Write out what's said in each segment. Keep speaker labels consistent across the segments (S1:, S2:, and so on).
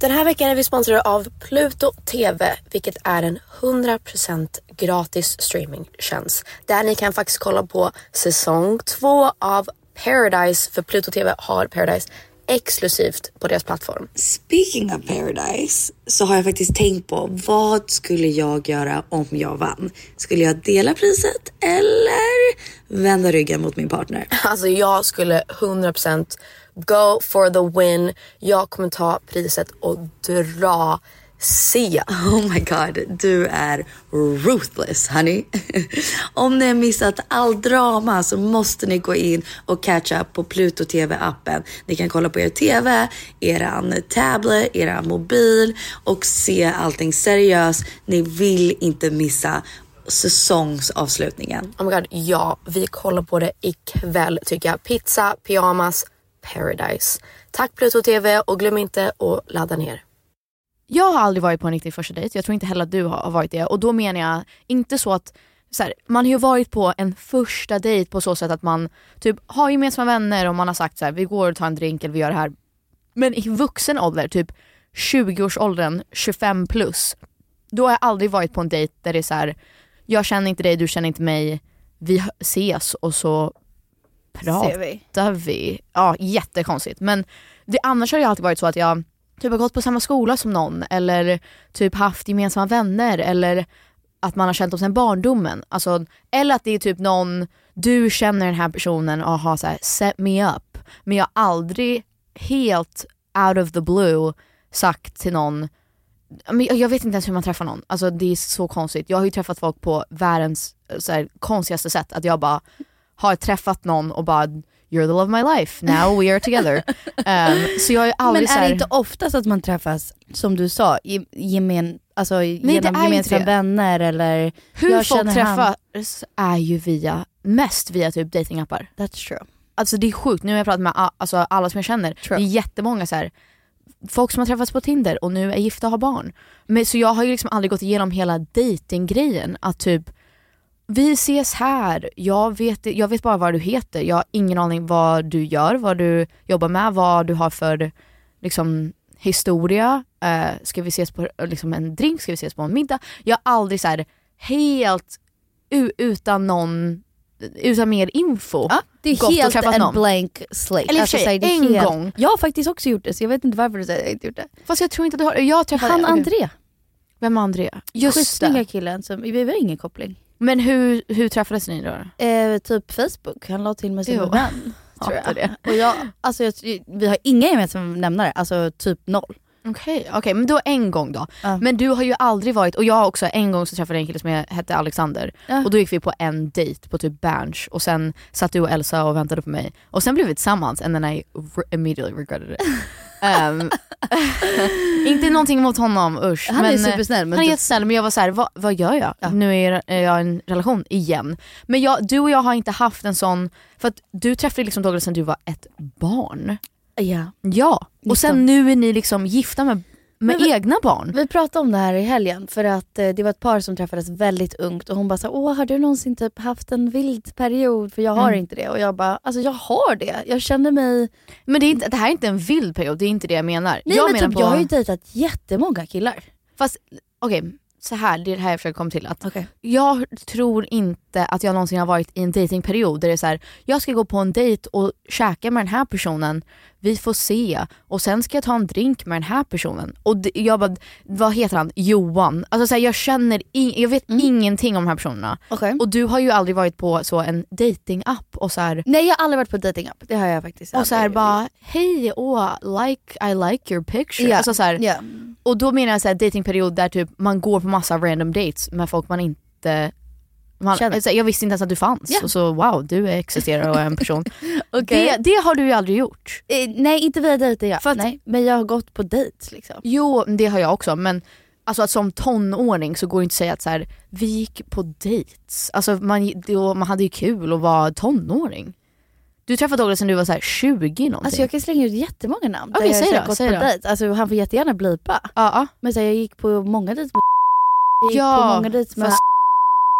S1: Den här veckan är vi sponsrade av Pluto TV, vilket är en 100% gratis streamingtjänst där ni kan faktiskt kolla på säsong två av Paradise för Pluto TV har Paradise exklusivt på deras plattform.
S2: Speaking of paradise så har jag faktiskt tänkt på vad skulle jag göra om jag vann? Skulle jag dela priset eller vända ryggen mot min partner?
S1: Alltså jag skulle 100% go for the win. Jag kommer ta priset och dra se.
S2: Oh my god, du är ruthless honey. Om ni har missat all drama så måste ni gå in och catch up på Pluto TV appen. Ni kan kolla på er TV, eran tablet, eran mobil och se allting seriöst. Ni vill inte missa säsongsavslutningen.
S1: Oh my god, ja, vi kollar på det ikväll tycker jag. Pizza, pyjamas, paradise. Tack Pluto TV och glöm inte att ladda ner.
S3: Jag har aldrig varit på en riktig första dejt, jag tror inte heller att du har har varit det. Och då menar jag inte så att, så här, man har ju varit på en första dejt på så sätt att man typ har gemensamma vänner och man har sagt så här, vi går och tar en drink eller vi gör det här. Men i vuxen ålder, typ 20-årsåldern, 25 plus, då har jag aldrig varit på en dejt där det är så här, jag känner inte dig, du känner inte mig, vi hö- ses och så pratar vi. Ja, jättekonstigt. Men det, annars har det alltid varit så att jag typ har gått på samma skola som någon eller typ haft gemensamma vänner eller att man har känt dem sedan barndomen. Alltså, eller att det är typ någon, du känner den här personen och har så här, set me up. Men jag har aldrig helt out of the blue sagt till någon men jag- jag vet inte ens hur man träffar någon. Alltså det är så konstigt. Jag har ju träffat folk på världens eh, så här, konstigaste sätt. Att jag bara har träffat någon och bara “you're the love of my life, now we are together”. Ehm, så jag har ju aldrig
S4: Men
S3: så
S4: är
S3: här,
S4: det inte oftast att man träffas, som du sa, i, gemen, alltså,
S3: det är
S4: genom
S3: inte
S4: gemensamma
S3: det.
S4: vänner eller...
S3: Hur
S4: jag
S3: folk
S4: känner
S3: träffas är ju via, mest via typ datingappar.
S4: That's true.
S3: Alltså det är sjukt, nu har jag pratat med a- alltså, alla som jag känner, det är jättemånga så här. folk som har träffats på Tinder och nu är gifta och har barn. Men, så jag har ju liksom aldrig gått igenom hela datinggrejen att typ vi ses här, jag vet, jag vet bara vad du heter, jag har ingen aning vad du gör, vad du jobbar med, vad du har för liksom, historia. Eh, ska vi ses på eh, liksom, en drink, ska vi ses på en middag? Jag har aldrig så här, helt u- utan någon utan mer info.
S4: Ja, det är
S3: Gott att
S4: helt
S3: träffa
S4: en
S3: någon.
S4: blank slate. Alltså,
S3: Eller i och för sig,
S4: så här, det är
S3: en gång.
S4: Jag har faktiskt också gjort det så jag vet inte varför du säger att jag inte gjort det.
S3: Fast jag tror inte att du har Jag träffade...
S4: Han
S3: okej.
S4: André,
S3: Vem är André?
S4: skitsnygga killen. Som, vi har ingen koppling.
S3: Men hur, hur träffades ni då?
S4: Eh, typ Facebook, han la till mig
S3: Jo.
S4: som vän. tror
S3: Hatar
S4: jag.
S3: det.
S4: Och jag, alltså jag, vi har inga gemensamma nämnare, alltså typ noll.
S3: Okej, okej, men då en gång då.
S4: Ja.
S3: Men du har ju aldrig varit, och jag har också en gång så träffade jag en kille som jag hette Alexander
S4: Ja.
S3: och då gick vi på en dejt på typ Berns och sen satt du och Elsa och väntade på mig och sen blev vi tillsammans and then I re- immediately regretted it. Ehm, inte någonting mot honom usch.
S4: Han är
S3: men, eh,
S4: supersnäll, men
S3: han är
S4: typ-
S3: jättesnäll men jag var så här, vad, vad gör jag? Nu är är jag i en relation igen. Men jag, du och jag har inte haft en sån, för att du träffade liksom Douglas sen du var ett barn.
S4: Ja.
S3: Ja, och sen nu är ni liksom gifta med, med
S4: Men vi-
S3: egna barn.
S4: Vi pratade om det här i helgen för att eh, det var ett par som träffades väldigt ungt och hon bara så här, åh har du någonsin typ haft en vild period för jag har inte det och jag bara alltså jag har det, jag känner mig,
S3: Men det, är inte, det här är inte en vild period, det är inte det jag menar.
S4: nej
S3: jag
S4: men
S3: menar
S4: typ jag har ju dejtat jättemånga killar.
S3: Fast okej, så här, det är det här jag försöker komma till. Att
S4: Okej.
S3: Jag tror inte att jag någonsin har varit i en datingperiod där det är så här, jag ska gå på en dejt och käka med den här personen, vi får se och sen ska jag ta en drink med den här personen. Och det, jag bara, vad heter han? Johan. Alltså så här, jag känner, in, jag
S4: Mm.
S3: vet ingenting om de här personerna.
S4: Okej.
S3: Och du har ju aldrig varit på så en datingapp och så här,
S4: Nej jag har aldrig varit på datingapp. det har jag faktiskt
S3: Och så här
S4: aldrig
S3: bara, hej, åh, like, I like your picture.
S4: Ja.
S3: Alltså så här,
S4: Ja.
S3: Och då menar jag så här, datingperiod där typ man går på massa random dates med folk man inte man,
S4: Känner.
S3: alltså, jag visste inte ens att du fanns.
S4: Ja.
S3: Och så wow, du existerar och är en person.
S4: Okej.
S3: det, det har du ju aldrig gjort.
S4: Eh, nej inte via dejtingapp,
S3: För att-
S4: nej, men jag har gått på dejt liksom.
S3: Jo, det har jag också men alltså, att som tonåring så går det inte att säga att så här, vi gick på dates. Alltså, man, då, man hade ju kul och var tonåring. Du träffade Douglas när du var så här 20 någonting.
S4: Alltså jag kan slänga ut jättemånga namn
S3: Okej,
S4: där jag
S3: säg
S4: så här
S3: då,
S4: gått
S3: säg
S4: på
S3: då.
S4: dejt. Alltså, han får jättegärna blipa.
S3: Ja, ja.
S4: Men så här, jag gick på många dejter med Jag gick
S3: Ja,
S4: på många dejter med
S3: fast-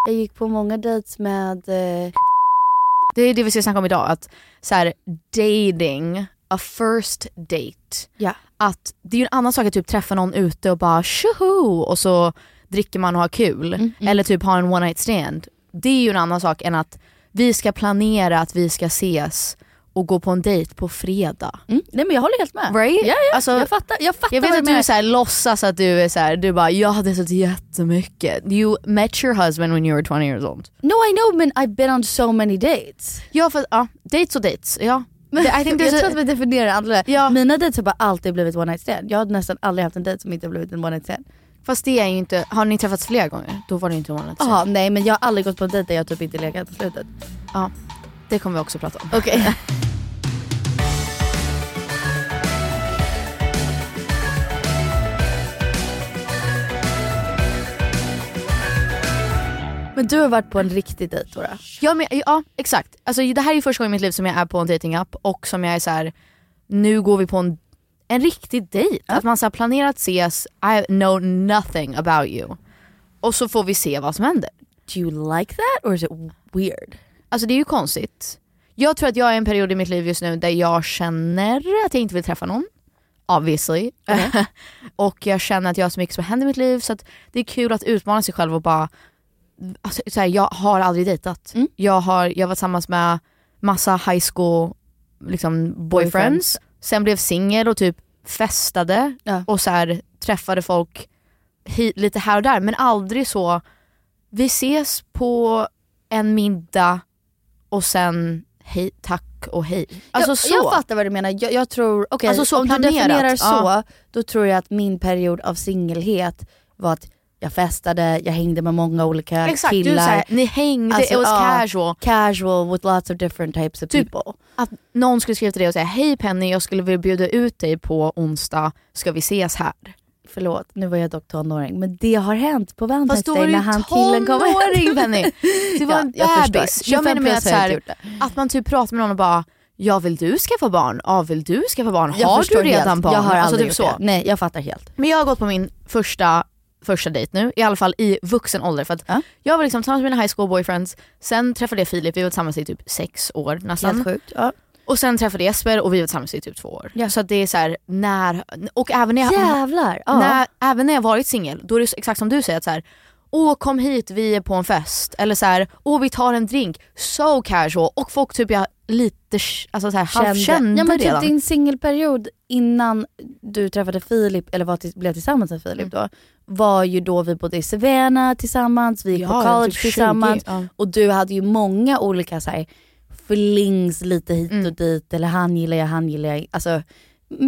S4: Jag gick på många dejter med eh,
S3: Det är det vi ska snacka om idag, att så här, dating, a first date.
S4: Ja.
S3: Att det är ju en annan sak att typ träffa någon ute och bara tjoho och så dricker man och har kul. Eller typ ha en one night stand. Det är ju en annan sak än att vi ska planera att vi ska ses och gå på en dejt på fredag.
S4: Mm. Nej men jag håller helt med.
S3: Right?
S4: Ja, ja.
S3: Alltså,
S4: jag fattar, jag fattar
S3: Jag
S4: vad
S3: vet att du
S4: menar.
S3: är så här, låtsas att du är så här, du bara jag hade sett jättemycket. You met your husband when you were 20 years old.
S4: No I know men I've been on so many dates.
S3: Ja, för, ja dates och dates. Ja.
S4: Men,
S3: I think
S4: jag
S3: there's a-
S4: tror att vi definierar andra.
S3: Ja.
S4: Mina dejter har bara alltid blivit one night stand. Jag har nästan aldrig haft en dejt som inte har blivit en one night stand.
S3: Fast det är ju inte, har ni träffats flera gånger? Då var det inte ovanligt.
S4: Jaha nej men jag har aldrig gått på en dejt där jag typ inte legat på slutet.
S3: Ja, det kommer vi också prata om.
S4: Okej. Men du har varit på en riktig dejt Dora.
S3: Ja, men, ja exakt. Alltså, det här är ju första gången i mitt liv som jag är på en datingapp och som jag är så här. nu går vi på en, en riktig dejt. Att man så här, planerar att ses, I know nothing about you. Och så får vi se vad som händer.
S4: Do you like that or is it weird?
S3: Alltså det är ju konstigt. Jag tror att jag är i en period i mitt liv just nu där jag känner att jag inte vill träffa någon. Obviously.
S4: Uh-huh.
S3: och jag känner att jag har så mycket som händer i mitt liv så att det är kul att utmana sig själv och bara, alltså, så här, jag har aldrig dejtat.
S4: Mm.
S3: Jag, har, jag var tillsammans med massa high school liksom, boyfriends.
S4: Boyfriends.
S3: sen blev singel och typ festade
S4: Ja.
S3: och så här, träffade folk hi- lite här och där men aldrig så, vi ses på en middag och sen hej, tack och hej. Alltså
S4: jag,
S3: så.
S4: jag fattar vad du menar. Jag, jag tror, okej,
S3: Alltså, så
S4: om
S3: planerat,
S4: du definierar så,
S3: ja.
S4: då tror jag att min period av singelhet var att jag festade, jag hängde med många olika
S3: Exakt, du
S4: killar.
S3: såhär, ni hängde,
S4: Alltså,
S3: it was
S4: ja.
S3: casual.
S4: Casual with lots of different types of
S3: Typ.
S4: people.
S3: Att någon skulle skriva till dig och säga hej Penny jag skulle vilja bjuda ut dig på onsdag, ska vi ses här?
S4: Förlåt, nu var jag dock tonåring men det har hänt på Valentine's
S3: Fast då var
S4: Day
S3: du
S4: när
S3: ju
S4: han killen kom
S3: tonåring Penny! Du var en
S4: jag förstår.
S3: bebis.
S4: 25
S3: Jag menar med
S4: plus
S3: att,
S4: har jag inte
S3: såhär,
S4: gjort det.
S3: att man typ pratar med någon och bara Ja vill du skaffa barn? Ja vill du skaffa barn?
S4: Jag
S3: Har du
S4: förstår
S3: redan
S4: helt.
S3: barn?
S4: Jag har
S3: alltså,
S4: aldrig
S3: typ
S4: gjort
S3: så.
S4: det. Nej jag fattar helt.
S3: Men jag har gått på min första, första dejt nu, i alla fall i vuxen ålder. För att
S4: Ja.
S3: Jag var liksom tillsammans med mina high school boyfriends, sen träffade jag Filip, vi var tillsammans i typ sex år
S4: Helt
S3: nästan.
S4: sjukt. Ja.
S3: Och sen träffade jag Jesper och vi var tillsammans i typ två år.
S4: Ja.
S3: Så att det är så här, när, och även när jag,
S4: Jävlar! Ja.
S3: när, även när jag varit singel, då är det så- exakt som du säger, att så här, åh kom hit vi är på en fest eller så här, åh vi tar en drink, so casual och folk typ jag lite sh- alltså så här, halvkände
S4: ja, men typ
S3: redan.
S4: din singelperiod innan du träffade Filip, eller var till, blev tillsammans med Filip då, var ju då vi bodde i Savannah tillsammans, vi gick på
S3: Ja,
S4: college
S3: typ 20,
S4: tillsammans
S3: ja.
S4: och du hade ju många olika så här, flings lite hit och dit eller han gillar jag, han gillar jag. Alltså, mm,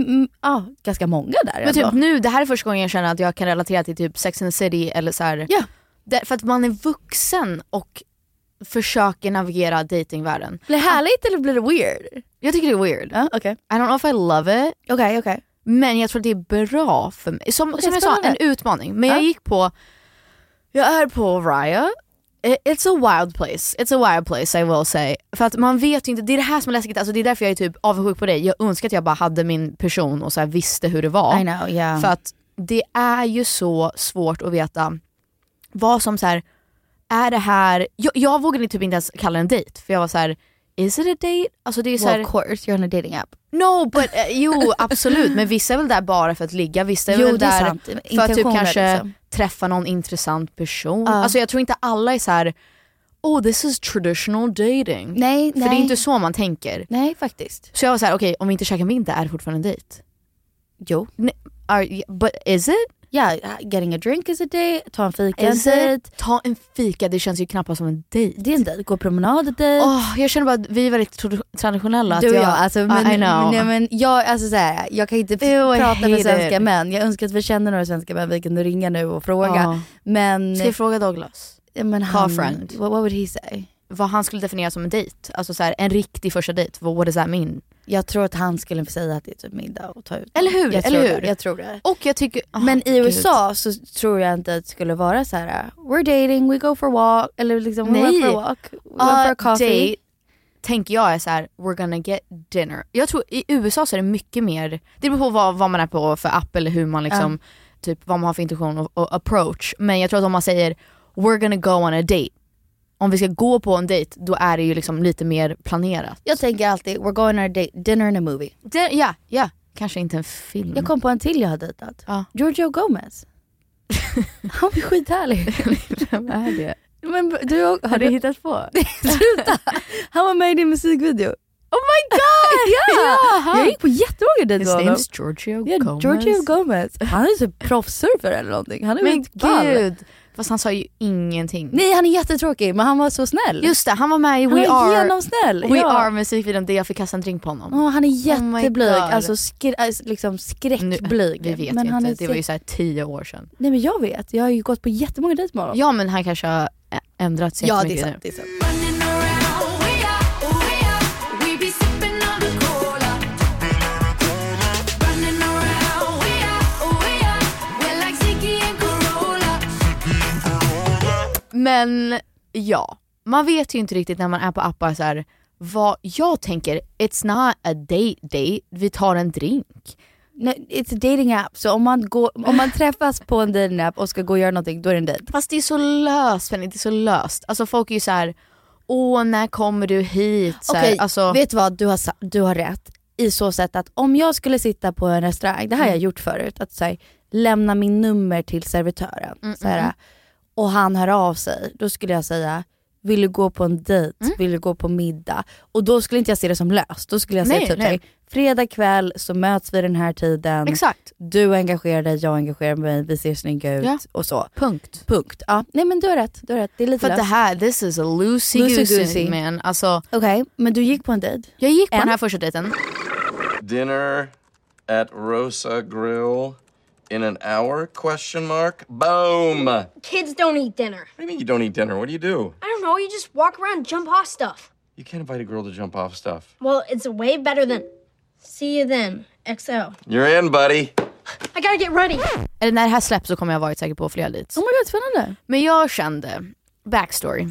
S4: mm, ja, ganska många där
S3: Men
S4: ändå.
S3: typ nu, det här är första gången jag känner att jag kan relatera till typ Sex and the City eller så här.
S4: Ja.
S3: Där, för att man är vuxen och försöker navigera datingvärlden.
S4: Blir det härligt eller blir det weird?
S3: Jag tycker det är weird.
S4: Ja, Okej,
S3: I don't know if I love it,
S4: okej. okej.
S3: men jag tror att det är bra för mig. Som, som jag sa, en
S4: spännande.
S3: utmaning. Men jag
S4: Ja.
S3: gick på, jag är på Raya. Eh, It's a wild place, it's a wild place I will say. För att man vet ju inte, det är det här som är läskigt, alltså det är därför jag är typ avundsjuk på dig. Jag önskar att jag bara hade min person och så här visste hur det var.
S4: I know, yeah.
S3: För att det är ju så svårt att veta vad som så här är det här, jag, jag vågade typ inte ens kalla det en dejt för jag var så här is it a date? Alltså det är så
S4: well,
S3: här,
S4: of course, you're on a dating app.
S3: no but, eh, jo absolut men vissa är väl där bara för att ligga, vissa är
S4: Jo,
S3: väl
S4: det är
S3: där
S4: sant.
S3: för att typ
S4: Intentioner,
S3: kanske
S4: liksom.
S3: träffa någon intressant person.
S4: Ja.
S3: Alltså jag tror inte alla är så här oh this is traditional dating.
S4: Nej,
S3: för
S4: nej.
S3: det är inte så man tänker.
S4: Nej faktiskt.
S3: Så jag var så här okej om vi inte käkar middag är det fortfarande en dejt?
S4: Jo.
S3: Nej, are, but is it?
S4: Ja, getting a drink is a day, ta en fika
S3: Is
S4: en
S3: it?
S4: dejt.
S3: Ta en fika, det känns ju knappast som en dejt.
S4: Det är en dejt, gå promenad a dejt.
S3: Åh, jag känner bara att vi är väldigt trad- traditionella. att
S4: du och jag, alltså, men,
S3: I know.
S4: Nej, men jag, alltså, så här, jag kan inte
S3: Ew, I
S4: prata
S3: hate
S4: med svenska
S3: it.
S4: män. Jag önskar att vi känner några svenska män vi kunde ringa nu och fråga.
S3: Ja.
S4: Men,
S3: Ska jag fråga Douglas
S4: ja, men
S3: Call
S4: han,
S3: friend.
S4: What, what would he say?
S3: vad han skulle definiera som en dejt? Alltså så här, en riktig första dejt, what what does that mean?
S4: Jag tror att han skulle säga att det är typ middag och ta ut
S3: Eller hur,
S4: Jag
S3: eller
S4: tror
S3: hur?
S4: Det, jag tror det.
S3: Och jag tycker... Åh,
S4: men i
S3: Ah, gud.
S4: USA så tror jag inte att det skulle vara så här. we're dating, we go for a walk, eller liksom we
S3: Nej.
S4: went for a walk, we
S3: Ja,
S4: went for a coffee.
S3: date, tänker jag är så här, we're gonna get dinner. Jag tror i USA så är det mycket mer, det beror på vad, vad man är på för app eller hur man liksom, typ vad man har för intention och, och approach. Men jag tror att om man säger we're gonna go on a date, om vi ska gå på en dejt då är det ju liksom lite mer planerat.
S4: Jag tänker alltid, we're going on a date, dinner and a movie.
S3: Det- Ja, ja. Kanske inte en film.
S4: Jag kom på en till jag har dejtat.
S3: Ja.
S4: Giorgio Gomez. Han är skithärlig.
S3: Vem är det?
S4: Men du, har du
S3: hittat på?
S4: Sluta! Han var med i din musikvideo.
S3: Oh my god!
S4: Ja! Jag
S3: han.
S4: gick på jättemånga dejter
S3: His
S4: med honom.
S3: name's Giorgio
S4: Alltså, Ja,
S3: Gomez.
S4: Giorgio Gomez. Han är typ proffssurfer eller någonting. Han är
S3: Men
S4: sjukt ball.
S3: gud. Fast han sa ju ingenting.
S4: Nej han är jättetråkig men han var så snäll.
S3: Just det, han var med i
S4: han
S3: We
S4: är
S3: Are
S4: genomsnäll.
S3: We
S4: ja.
S3: Are musikvideon där jag fick kasta en drink på honom.
S4: Åh, han är
S3: my
S4: jätteblyg,
S3: God.
S4: alltså skr- alltså, liksom skräckblyg.
S3: vi vet
S4: men
S3: ju
S4: han
S3: inte, det
S4: är
S3: var ju
S4: säkert-
S3: såhär tio år sedan.
S4: Nej men jag vet, jag har ju gått på jättemånga dejter med honom.
S3: Ja men han kanske har ä- ändrat sig
S4: Ja, det är
S3: jättemycket
S4: sant. Det är sant.
S3: Men ja, man vet ju inte riktigt när man är på appar så här, vad jag tänker, it's not a date date, vi tar en drink.
S4: Nej, it's a dating app, så om man, går, om man träffas på en dating app och ska gå och göra någonting, då är det en dejt.
S3: Fast det är så löst Penny, det är så löst. Alltså folk är ju så här, åh när kommer du hit? Så här,
S4: Okej,
S3: alltså,
S4: vet du vad? Du har, sa- du har rätt. I så sätt att om jag skulle sitta på en restaurang, det här har jag gjort förut, att så här, lämna min nummer till servitören så här, och han hör av sig, då skulle jag säga vill du gå på en dejt? Vill du gå på middag? Och då skulle inte jag se det som löst. Då skulle jag säga
S3: Nej,
S4: typ
S3: nej.
S4: nej. fredag kväll så möts vi den här tiden.
S3: Exakt,
S4: Du engagerar dig, jag engagerar mig, vi ser snygga ut
S3: Ja.
S4: och så.
S3: punkt.
S4: Punkt. Ja. Nej men du har rätt, du har rätt. Det är lite
S3: För att det
S4: löst.
S3: här, this is a loosey goosey
S4: Loosey-goosey.
S3: man. Alltså,
S4: Okej, men du gick på en dejt?
S3: jag gick på
S4: En.
S3: den här första dejten,
S5: Dinner at Rosa Grill in an hour? Question mark. Boom. What
S6: Kids don't eat dinner.
S5: do you mean you don't eat dinner? What do you do?
S6: I don't know, you just walk around and jump off stuff.
S5: You can't invite a girl to jump off stuff.
S6: Well, it's way better than. See you then, XO.
S5: You're in, buddy.
S6: I gotta get ready.
S3: eller när det här släpps så kommer jag varit säker på flera dejts.
S4: Oh my god, spännande.
S3: Men jag kände, backstory,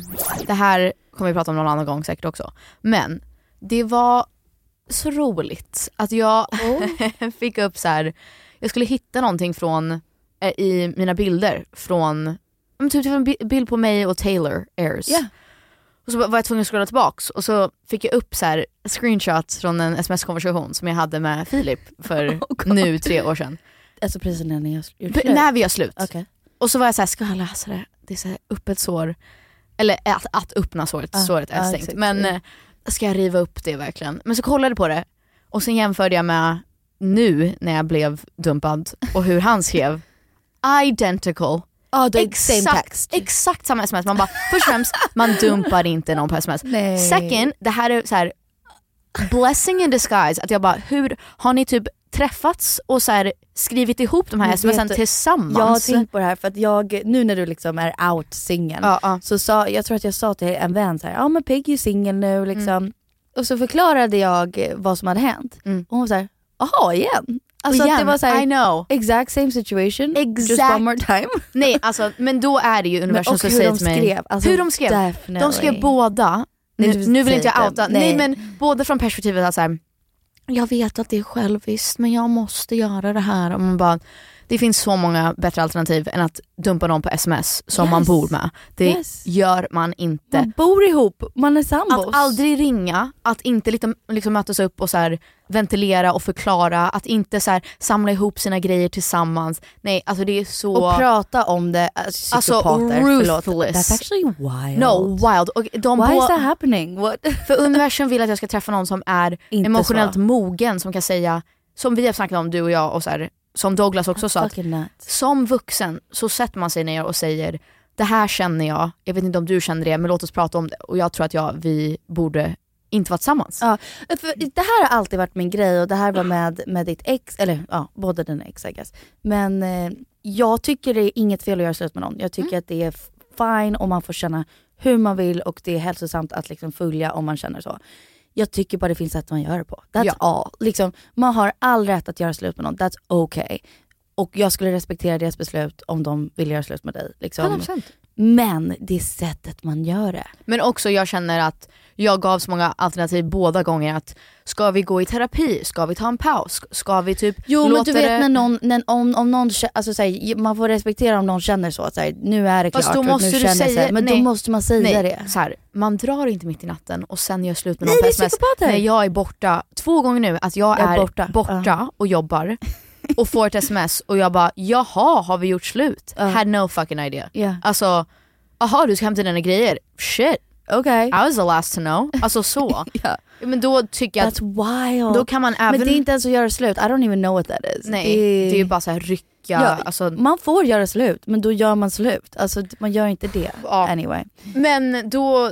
S3: det här kommer vi prata om någon annan gång säkert också. Men det var så roligt att jag
S4: Oh.
S3: fick upp så här. jag skulle hitta någonting från, eh, i mina bilder från, ja, men typ, typ en bi- bild på mig och Taylor Ayers.
S4: Ja.
S3: Och så var jag tvungen att scrolla tillbaks och så fick jag upp så här screenshots från en sms-konversation som jag hade med Filip
S4: Oh,
S3: för nu tre år sedan.
S4: Alltså precis när ni har gjort
S3: P-
S4: slut?
S3: När vi gör slut.
S4: Okej.
S3: Och så var jag så här, ska jag läsa det? det är så här öppet sår. Eller eh, att, att öppna såret,
S4: Ja,
S3: såret är
S4: ja,
S3: stängt.
S4: Ah, exakt. Mm.
S3: Men eh, ska jag riva upp det verkligen? Men så kollade jag på det och sen jämförde jag med nu när jag blev dumpad och hur han skrev. Identical.
S4: Ja, det är same
S3: Exakt,
S4: text.
S3: exakt samma sms. Man bara, först och främst, man dumpar inte någon på sms.
S4: Nej.
S3: Second, det här är så här blessing in disguise. Att jag bara, hur har ni typ träffats och så här skrivit ihop de här
S4: Men
S3: smsen
S4: vet du, Jag har
S3: tillsammans?
S4: tänkt på det här för att jag, nu när du liksom är out singel,
S3: Ja, ja.
S4: så sa, jag tror att jag sa till en vän så här, ja men Peggy är singel nu
S3: Mm.
S4: liksom. Och så förklarade jag eh, vad som hade hänt.
S3: Mm.
S4: Och hon var så här, jaha igen? Alltså
S3: igen,
S4: att det var så här,
S3: I know.
S4: exact same situation, just
S3: Exakt.
S4: one more time.
S3: Nej alltså, men då är det ju universum
S4: och
S3: som
S4: hur
S3: säger
S4: de
S3: till mig.
S4: skrev, alltså,
S3: hur de skrev. De skrev
S4: definitely.
S3: båda.
S4: Nej,
S3: Nu,
S4: du
S3: nu vill inte jag
S4: säger
S3: outa,
S4: inte.
S3: nej.
S4: Nej.
S3: men båda från perspektivet att så här, jag vet att det är själviskt men jag måste göra det här. Och man bara, det finns så många bättre alternativ än att dumpa någon på sms som man
S4: Yes.
S3: bor med. Det
S4: Yes.
S3: gör man inte.
S4: Man bor ihop, man är sambos.
S3: Att aldrig ringa, att inte liksom, liksom mötas upp och så här, ventilera och förklara, att inte så här, samla ihop sina grejer tillsammans. Nej, alltså det är så...
S4: och prata om det, alltså,
S3: Alltså,
S4: psykopater, förlåt.
S3: ruthless.
S4: That's actually wild.
S3: No, wild. Och de
S4: Why
S3: bå-
S4: is that happening? What?
S3: För universum vill att jag ska träffa någon som är
S4: Inte
S3: emotionellt
S4: så.
S3: mogen, som kan säga, som vi har snackat om du och jag och så här, som Douglas också sa, att
S4: Fucking nuts.
S3: som vuxen så sätter man sig ner och säger det här känner jag, jag vet inte om du känner det men låt oss prata om det och jag tror att jag, vi borde inte vara tillsammans.
S4: Ja, för det här har alltid varit min grej och det här var med, med ditt ex, eller ja, båda dina ex I guess. Men eh, jag tycker det är inget fel att göra slut med någon. Jag tycker att det är f- fine om man får känna hur man vill och det är hälsosamt att liksom följa om man känner så. Jag tycker bara det finns sätt man gör det på. That's
S3: Ja.
S4: all. Liksom, man har all rätt att göra slut med någon, that's okay. Och jag skulle respektera deras beslut om de vill göra slut med dig. Liksom.
S3: 100%.
S4: Men det är sättet man gör det.
S3: Men också jag känner att jag gav så många alternativ båda gånger att ska vi gå i terapi, ska vi ta en paus, ska vi typ
S4: Jo men
S3: låta
S4: du vet
S3: det...
S4: när någon, när, om, om någon kä- alltså, så här, man får respektera om någon känner så, att så här, nu är det klart,
S3: Fast då
S4: och
S3: måste
S4: nu
S3: du
S4: känner jag så
S3: säga-
S4: här, men
S3: nej.
S4: då måste man säga
S3: Nej,
S4: det.
S3: Så här, man drar inte mitt i natten och sen gör slut med någon
S4: Nej,
S3: på
S4: det är
S3: sms.
S4: psykopater.
S3: När jag är borta, två gånger nu, att jag,
S4: Jag är
S3: är borta,
S4: borta.
S3: och jobbar och får ett sms och jag bara jaha har vi gjort slut? Had no fucking idea.
S4: Ja.
S3: Alltså, jaha du ska hämta dina grejer? Shit,
S4: Okej.
S3: I was the last to know. Alltså så.
S4: Ja.
S3: Men då tycker jag att
S4: That's wild.
S3: då kan man även...
S4: men det är inte ens att göra slut, I don't even know what that is.
S3: Nej, det är ju bara så här rycka,
S4: Ja,
S3: alltså
S4: Man får göra slut, men då gör man slut. Alltså man gör inte det.
S3: Ja.
S4: Anyway.
S3: Men då,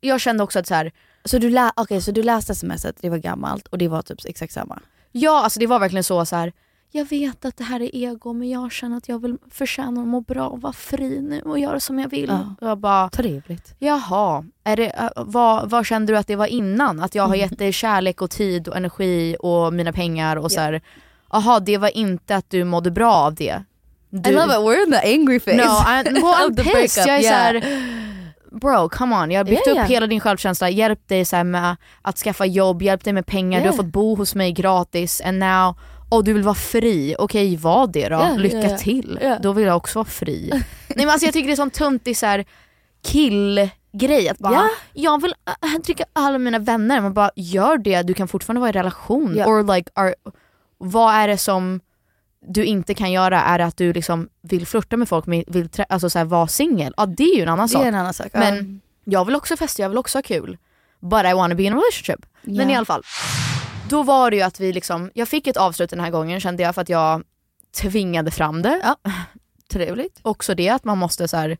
S3: jag kände också att så här,
S4: Så du, lä- okay, så du läste smset, det var gammalt och det var typ exakt samma.
S3: ja alltså det var verkligen så, så här, jag vet att det här är ego men jag känner att jag vill förtjäna att må bra och vara fri nu och göra som jag vill.
S4: Ja.
S3: Och jag bara,
S4: Trevligt.
S3: jaha, är det, äh, vad, vad kände du att det var innan? Att jag har gett dig kärlek och tid och energi och mina pengar och så här, jaha det var inte att du mådde bra av det. Du,
S4: I love it, we're in the angry face.
S3: No, I, well, I'm
S4: Of the
S3: pissed.
S4: breakup,
S3: Jag är
S4: yeah.
S3: såhär, bro come on. Jag har byggt
S4: Ja,
S3: upp
S4: ja.
S3: hela din självkänsla, hjälpt dig så här med att skaffa jobb, hjälpt dig med pengar, du
S4: Yeah.
S3: har fått bo hos mig gratis and now, och du vill vara fri. Okej, var det då.
S4: Ja,
S3: Lycka
S4: ja, ja.
S3: till.
S4: Ja.
S3: Då vill jag också vara fri. Nej men alltså jag tycker det är sån töntig så här killgrej att bara,
S4: Ja.
S3: jag vill äh, dricka öl med mina vänner. Man bara, gör det, du kan fortfarande vara i relation.
S4: Ja.
S3: Or like, are, vad är det som du inte kan göra är att du liksom vill flirta med folk, men vill trä- alltså så här, vara singel. Ja det är ju en annan
S4: Det
S3: sak.
S4: är en annan sak.
S3: Men
S4: Ja.
S3: jag vill också festa, jag vill också ha kul. But I wanna be in a relationship. Men
S4: Ja.
S3: i alla fall. Då var det ju att vi liksom, jag fick ett avslut den här gången kände jag för att jag tvingade fram det.
S4: Trevligt.
S3: Också det att man måste så här,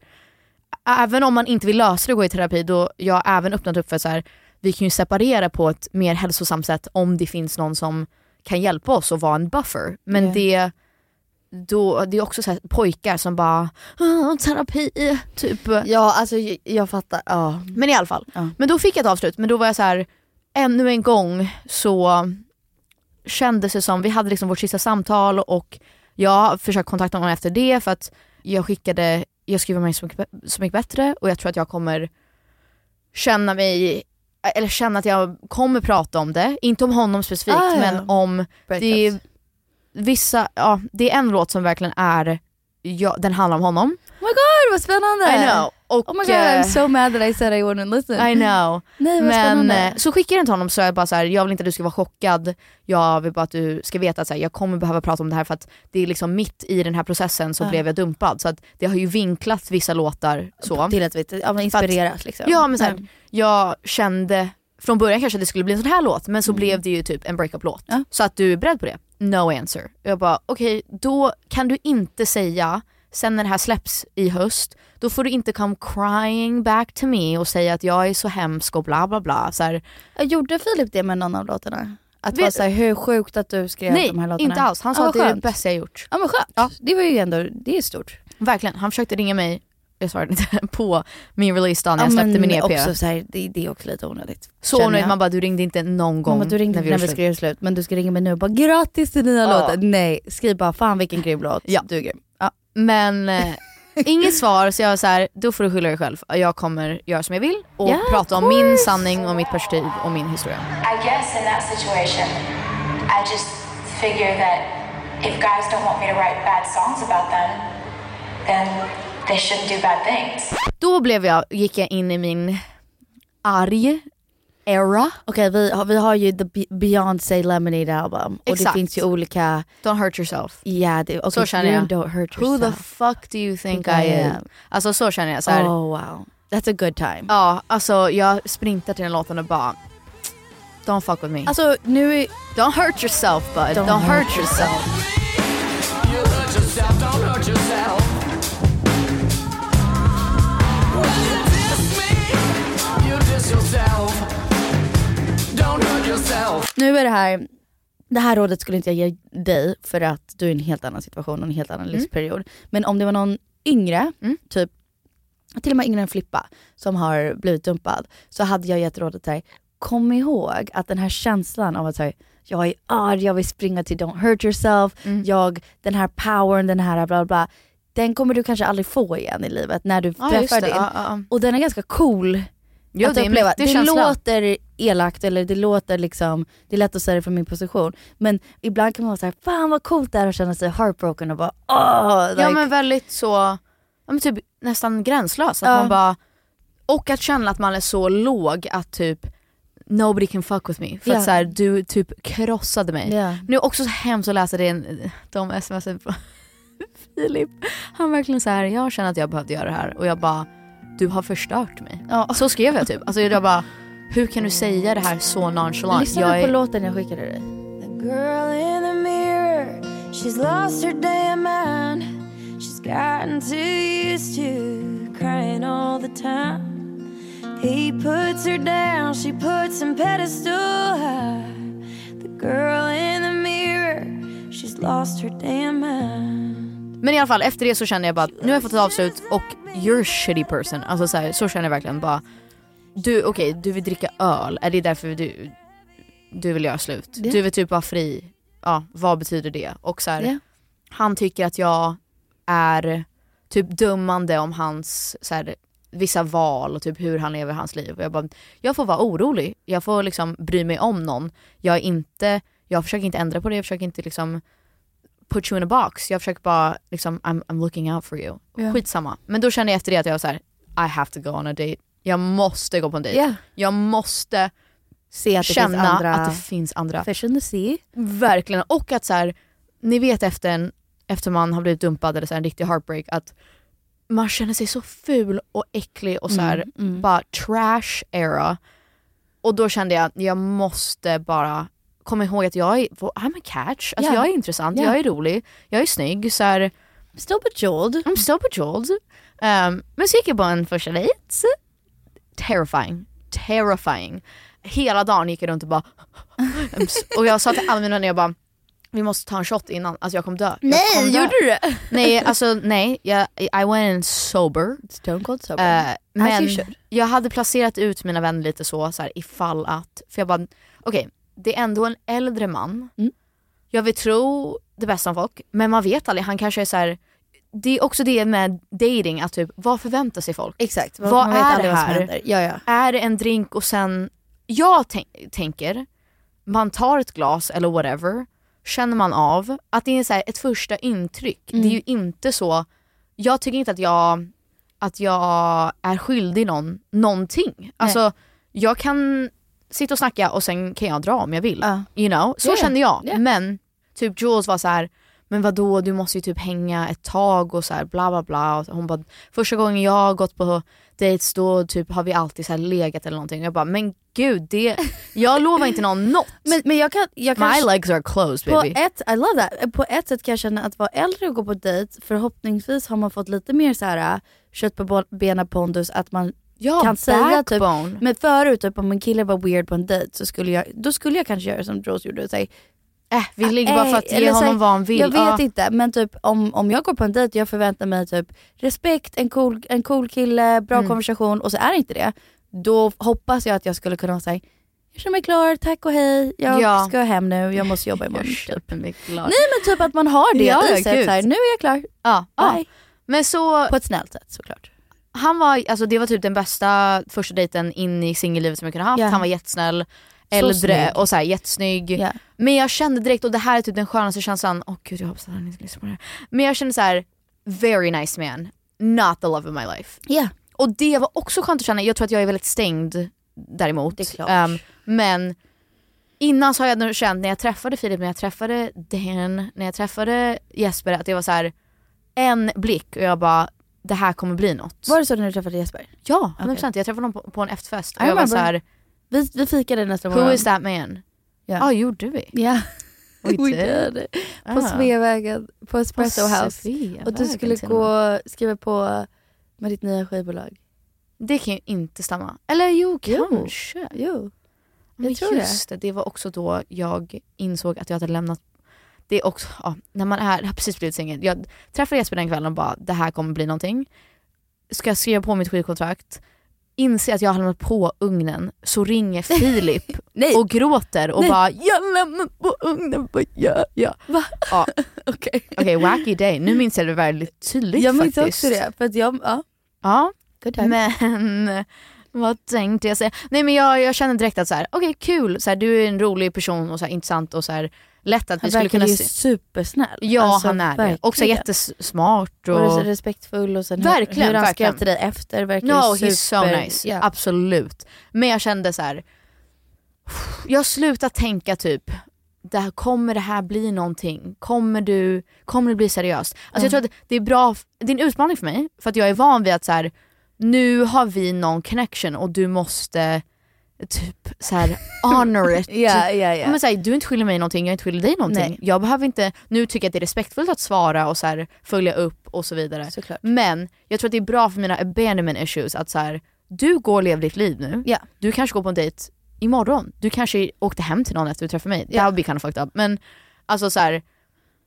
S3: även om man inte vill lösa det och gå i terapi, då jag har även öppnat upp för så här, vi kan ju separera på ett mer hälsosamt sätt om det finns någon som kan hjälpa oss och vara en buffer. Men
S4: Ja.
S3: det då, det är också så här pojkar som bara "Ah, terapi, typ.
S4: Ja, alltså jag, jag fattar. Ja.
S3: Men i alla fall.
S4: Ja.
S3: Men då fick jag ett avslut, men då var jag så här, ännu en gång så kändes det som, vi hade liksom vårt sista samtal och jag försökte kontakta honom efter det för att jag skickade, jag skriver mig så mycket, bä- så mycket bättre och jag tror att jag kommer känna mig, eller känna att jag kommer prata om det, inte om honom specifikt
S4: Ah, ja.
S3: men om det är vissa, ja det är en låt som verkligen är, ja, den handlar om honom.
S4: Oh my god, vad spännande!
S3: I know. Och,
S4: Oh my god
S3: eh,
S4: I'm so mad that I said I wouldn't listen.
S3: I know.
S4: Nej vad
S3: Men
S4: spännande.
S3: eh, så skickade jag den till honom så jag bara så här, jag vill inte att du ska vara chockad. Jag vill bara att du ska veta att så här, jag kommer behöva prata om det här för att det är liksom mitt i den här processen så blev jag dumpad. Så att det har ju vinklat vissa låtar så.
S4: Typ Till att vi ja, men inspireras liksom.
S3: Ja men så här, jag kände från början kanske att det skulle bli en sån här låt men så blev det ju typ en breakup-låt.
S4: Mm. Ja.
S3: Så att du är beredd på det? No answer. Jag bara okej, då kan du inte säga sen när det här släpps i höst, då får du inte come crying back to me och säga att jag är så hemsk och bla bla bla. Så här,
S4: Jag eh, gjorde Filip det med någon av låtarna? Att
S3: Vet-
S4: vara såhär, hur sjukt att du skrev
S3: nej,
S4: eh, de här låtarna.
S3: inte alls. Han sa
S4: Ja,
S3: att det är det
S4: skönt.
S3: bästa jag gjort.
S4: Ja men skönt. Det var ju ändå, det är stort.
S3: Verkligen, han försökte ringa mig, jag svarade inte, på min releasedag när jag släppte min EP.
S4: Också så här, det, det är också lite onödigt.
S3: så
S4: känner
S3: onödigt,
S4: jag.
S3: man bara du ringde inte någon gång
S4: Om att du ringde när vi, när vi
S3: gjorde slut.
S4: skrev slut men du ska ringa mig nu och bara grattis till nya
S3: Ja.
S4: låten. Nej, skriv bara fan vilken grym låt.
S3: Ja.
S4: Du är grym. Ja.
S3: Men eh, inget svar så jag var så här, då får du skylla dig själv. Jag kommer göra som jag vill och
S4: Ja,
S3: prata om
S4: of
S3: min
S4: course.
S3: sanning och mitt perspektiv och min historia.
S7: I guess in that situation, I just figure that if guys don't want me to write bad songs about them, then they shouldn't do bad things.
S3: Då blev jag, gick jag in i min arg era.
S4: Okej vi, har- vi har ju the Be- Beyoncé Lemonade album och
S3: Exakt.
S4: det finns ju olika,
S3: Don't hurt yourself.
S4: ja det, okay,
S3: Så känner jag.
S4: Don't hurt
S3: Who the
S4: yourself.
S3: fuck do you think I
S4: Think I
S3: am?
S4: am.
S3: Alltså så känner jag så här.
S4: Oh wow, that's a good time.
S3: Ja, alltså jag sprintar till den låten och bara Don't fuck with me.
S4: Alltså nu är,
S3: don't hurt yourself bud. Don't,
S4: Don't
S3: hurt
S4: hurt
S3: yourself.
S4: nu är det här, det här rådet skulle inte jag ge dig för att du är i en helt annan situation och en helt
S3: Mm.
S4: annan livsperiod. Men om det var någon yngre, typ till och med yngre än Flippa, som har blivit dumpad, så hade jag gett rådet till kom ihåg att den här känslan av att så här, jag är arg, jag vill springa till Don't hurt yourself,
S3: Mm.
S4: jag, den här powern, den här bla bla, bla, den kommer du kanske aldrig få igen i livet när du
S3: Ja, just
S4: träffar
S3: det.
S4: din.
S3: Ja, ja, ja.
S4: Och den är ganska cool
S3: Jo,
S4: att
S3: det är en
S4: uppleva.
S3: mäktig
S4: Det
S3: känsla.
S4: låter elakt eller det låter liksom, det är lätt att säga det från min position. Men ibland kan man vara såhär, fan vad coolt det är att känna sig heartbroken och bara åh. Like,
S3: Ja men väldigt så, ja, men typ nästan gränslös. Att
S4: Ja.
S3: man bara, och att känna att man är så låg att typ nobody can fuck with me. För
S4: Ja.
S3: att så här, du typ krossade mig.
S4: Ja.
S3: Nu är det också så hemskt att läsa det, en- de smsen från Filip. Han verkligen så här, jag känner att jag behövde göra det här och jag bara, du har förstört mig.
S4: Ja.
S3: Så skrev jag typ. Alltså jag bara, hur kan du säga det här så nonchalant?
S4: Lyssna
S3: jag
S4: nu
S3: är-
S4: på låten jag skickade dig.
S7: Girl in the mirror, she's lost her damn mind. She's gotten too used to crying all the time. He puts her down, she puts him pedestal high. The girl in the mirror, she's lost her damn mind.
S3: Men i alla fall efter det så kände jag bara att nu har jag fått ett avslut och you're a shitty person. Alltså så, här, så känner jag verkligen bara. Du, okej, du vill dricka öl. Är det därför du, du vill göra slut?
S4: Ja.
S3: Du vill typ vara fri. Ja, vad betyder det? Och så här,
S4: Ja.
S3: han tycker att jag är typ dömande om hans så här, vissa val och typ hur han lever hans liv. Och jag bara, jag får vara orolig. Jag får liksom bry mig om någon. Jag är inte, jag försöker inte ändra på det. Jag försöker inte liksom put you in a box. Jag försöker bara liksom, I'm, I'm looking out for you. Skitsamma. Men då kände jag efter det att jag var så här, I have to go on a date. Jag måste gå på en dejt.
S4: Ja.
S3: Jag måste
S4: Se att det
S3: känna
S4: finns andra.
S3: att det finns andra.
S4: Fish in the sea.
S3: Verkligen. Och att så här, ni vet efter, en, efter man har blivit dumpad eller så här, en riktig heartbreak att man känner sig så ful och äcklig och så här,
S4: Mm,
S3: bara trash era. Och då kände jag att jag måste bara komma ihåg att jag är, I'm a catch. Alltså
S4: Ja.
S3: jag är intressant,
S4: Ja.
S3: jag är rolig, jag är snygg. Så här,
S4: Still bejeweled.
S3: I'm so bejeweled. Um, men så gick jag på en första dejt. Terrifying. Terrifying. Hela dagen gick jag runt och bara... I'm so- och jag sa till alla mina vänner, jag bara, vi måste ta en shot innan, alltså jag kommer dö. Jag kommer dö.
S4: du det?
S3: Nej, alltså nej. Jag, I went in sober.
S4: Stone cold sober.
S3: Eh, men
S4: you should.
S3: jag hade placerat ut mina vänner lite så, så här, ifall att. För jag bara, okej, det är ändå en äldre man.
S4: Mm.
S3: Jag vill tro det bästa om folk, men man vet aldrig. Han kanske är så här. Det är också det med dating, att typ, vad förväntar sig folk?
S4: Exakt,
S3: Vad,
S4: man vet
S3: är
S4: aldrig
S3: det
S4: vad som
S3: här?
S4: händer. Ja, ja.
S3: Är det en drink och sen, jag tän- tänker, man tar ett glas eller whatever, känner man av att det är så här ett första intryck. Det är ju inte så, jag tycker inte att jag att jag är skyldig någon någonting. Alltså jag kan sitta och snacka och sen kan jag dra om jag vill. You know? Så
S4: Yeah.
S3: kände jag.
S4: Yeah.
S3: Men typ Jules var så här men vadå du måste ju typ hänga ett tag och så här bla bla bla. Och hon bara, första gången jag har gått på dates då typ har vi alltid så här legat eller någonting. Jag bara, men gud det, jag lovar inte någon något.
S4: Men, men jag kan, jag kan
S3: My legs are closed
S4: på
S3: baby.
S4: ett, I love that. På ett sätt kan jag känna att vara äldre och gå på dejt, förhoppningsvis har man fått lite mer så här, äh, kött på bo- benen pondus att man
S3: Ja,
S4: kan säga typ.
S3: backbone.
S4: Men förut typ, om en kille var weird på en dejt så skulle jag, då skulle jag kanske göra som Rose gjorde och säga
S3: Äh, vi ligger bara för att ge
S4: Ah, eller så här,
S3: honom vad han vill.
S4: Jag vet
S3: Ja.
S4: inte men typ om, om jag går på en dejt jag förväntar mig typ respekt, en cool, en cool kille, bra
S3: Mm.
S4: konversation och så är det inte det. Då hoppas jag att jag skulle kunna säga jag känner mig klar, tack och hej, jag
S3: Ja.
S4: ska hem nu, jag måste jobba imorgon. typ.
S3: Klar.
S4: Nej men typ att man har det
S3: Ja,
S4: i sig, att
S3: gud.
S4: så här, nu är jag klar,
S3: Ja, ja.
S4: bye.
S3: Men så,
S4: På ett snällt sätt såklart.
S3: han var, alltså det var typ den bästa första dejten in i singellivet som jag kunde ha haft.
S4: Ja.
S3: Han var jättesnäll, äldre
S4: snygg.
S3: och så här, jättesnygg.
S4: Ja.
S3: Men jag kände direkt, och det här är typ den skönaste känslan, åh gud jag hoppas att han inte lyssnar på det här. Men jag kände så här: very nice man, not the love of my life.
S4: Ja,
S3: Och det var också skönt att känna, jag tror att jag är väldigt stängd däremot.
S4: Det är klart.
S3: Ehm, men innan så har jag nog känt när jag träffade Filip, när jag träffade Dan, när jag träffade Jesper att det var så här en blick och jag bara det här kommer bli något.
S4: Var det så när du träffade Jesper?
S3: Ja,
S4: Okej.
S3: 100%. Jag träffade honom på, på en efterfest och
S4: I
S3: jag var så
S4: remember.
S3: här
S4: Vi, vi fikade nästan
S3: who is that man? Ja,
S4: Ja.
S3: ah, gjorde vi?
S4: Ja, we
S3: We did.
S4: did.
S3: Ah.
S4: På Sveavägen, på Espresso House.
S3: Sofia,
S4: Och du
S3: vägen
S4: skulle
S3: till och med.
S4: gå skriva på med ditt nya skivbolag.
S3: Det kan ju inte stämma. Eller jo,
S4: Jo.
S3: kanske.
S4: Jo.
S3: Men
S4: Jag tror det.
S3: just det. det. var också då jag insåg att jag hade lämnat det är också, ja, när man är, har precis blivit singel. Jag träffade Jesper den kvällen och bara, det här kommer bli någonting. Ska jag skriva på mitt skivkontrakt? Inse att jag har lämnat på ugnen, så ringer Filip
S4: Nej.
S3: och gråter och
S4: Nej.
S3: bara, jag lämnar på ugnen, vad gör jag?
S4: Va?
S3: Ja,
S4: Okej.
S3: Okej, wacky day. Nu minns jag det väldigt tydligt
S4: Jag minns
S3: faktiskt.
S4: också det. För att jag, ja.
S3: Ja,
S4: Good
S3: men vad tänkte jag säga? Nej men jag, jag känner direkt att så här, okej kul, så här, du är en rolig person och så här, intressant och så här, lätt att
S4: han
S3: vi skulle
S4: verkar
S3: kunna
S4: ju
S3: se.
S4: supersnäll.
S3: Ja
S4: Alltså,
S3: han är det. Också
S4: verkligen.
S3: jättesmart och...
S4: Och res- respektfull och sen hur-
S3: Verkligen,
S4: hur han skrev
S3: verkligen.
S4: till dig efter verkar ju
S3: No
S4: super...
S3: he's so nice,
S4: Ja.
S3: absolut. Men jag kände så här. jag slutar tänka typ, det här, kommer det här bli någonting? Kommer, du, kommer det bli seriöst? Alltså jag tror att det är bra, det är en utmaning för mig, för att jag är van vid att så här, nu har vi någon connection och du måste typ så här, honor it. Typ.
S4: Ja, ja, ja.
S3: Men så här, du är inte skyldig mig någonting, jag är inte skyldig dig någonting.
S4: Nej.
S3: Jag behöver inte, nu tycker jag att det är respektfullt att svara och så här, följa upp och så vidare.
S4: Såklart.
S3: Men jag tror att det är bra för mina abandonment issues att så här, du går och lever ditt liv nu.
S4: Ja.
S3: Du kanske går på en dejt imorgon. Du kanske åkte hem till någon efter du träffade mig. That would be kind of fucked up. Men alltså så här,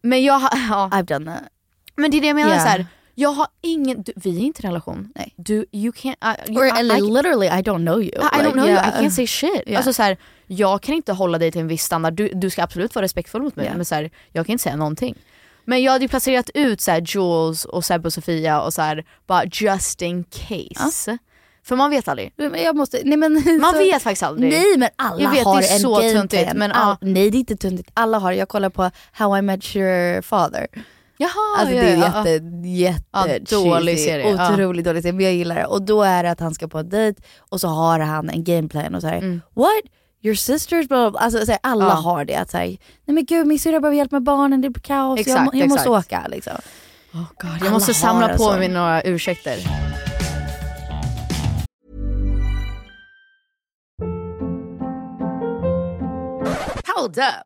S3: men jag har- ja.
S4: I've done that.
S3: Men det är det jag menar
S4: Yeah.
S3: så här. Jag har ingen, du, vi är inte i en relation.
S4: Nej.
S3: Du, you can't, I, you,
S4: Or,
S3: I,
S4: eller
S3: I,
S4: literally I don't know you.
S3: I don't know
S4: yeah.
S3: you, I can't say shit.
S4: Yeah.
S3: Alltså så här, jag kan inte hålla dig till en viss standard. Du, du ska absolut vara respektfull mot mig
S4: Yeah.
S3: men så här, jag kan inte säga någonting. Men jag hade ju placerat ut så här, Jules och Sebbe och Sofia och så här, bara just in case. För man vet aldrig.
S4: Men Jag måste, nej men,
S3: Man
S4: så-
S3: vet faktiskt aldrig.
S4: Nej men alla
S3: Jag vet, det är
S4: har en
S3: så
S4: game
S3: töntigt,
S4: plan.
S3: men,
S4: All,
S3: ja.
S4: Nej det är inte tuntigt, alla har det. Jag kollar på How I Met Your Father.
S3: Jaha,
S4: Alltså
S3: ja,
S4: det är
S3: ja, ja.
S4: jätte, jätte
S3: Ja, dålig
S4: cheesy,
S3: serie, ja.
S4: Otroligt dålig serie, men jag gillar det. Och då är det att han ska på en dejt och så har han en gameplan och så här, what? Your sisters, blah, blah, blah. Alltså, så här, alla
S3: Ja.
S4: har det. Att, så här, nej men gud min syrra behöver hjälp med barnen, det blir kaos, jag,
S3: Exakt,
S4: må, jag måste
S3: exakt.
S4: åka. Liksom.
S3: Oh God,
S4: Alla
S3: jag måste
S4: har
S3: samla
S4: en
S3: på
S4: sån.
S3: mig några ursäkter.
S8: Hold up.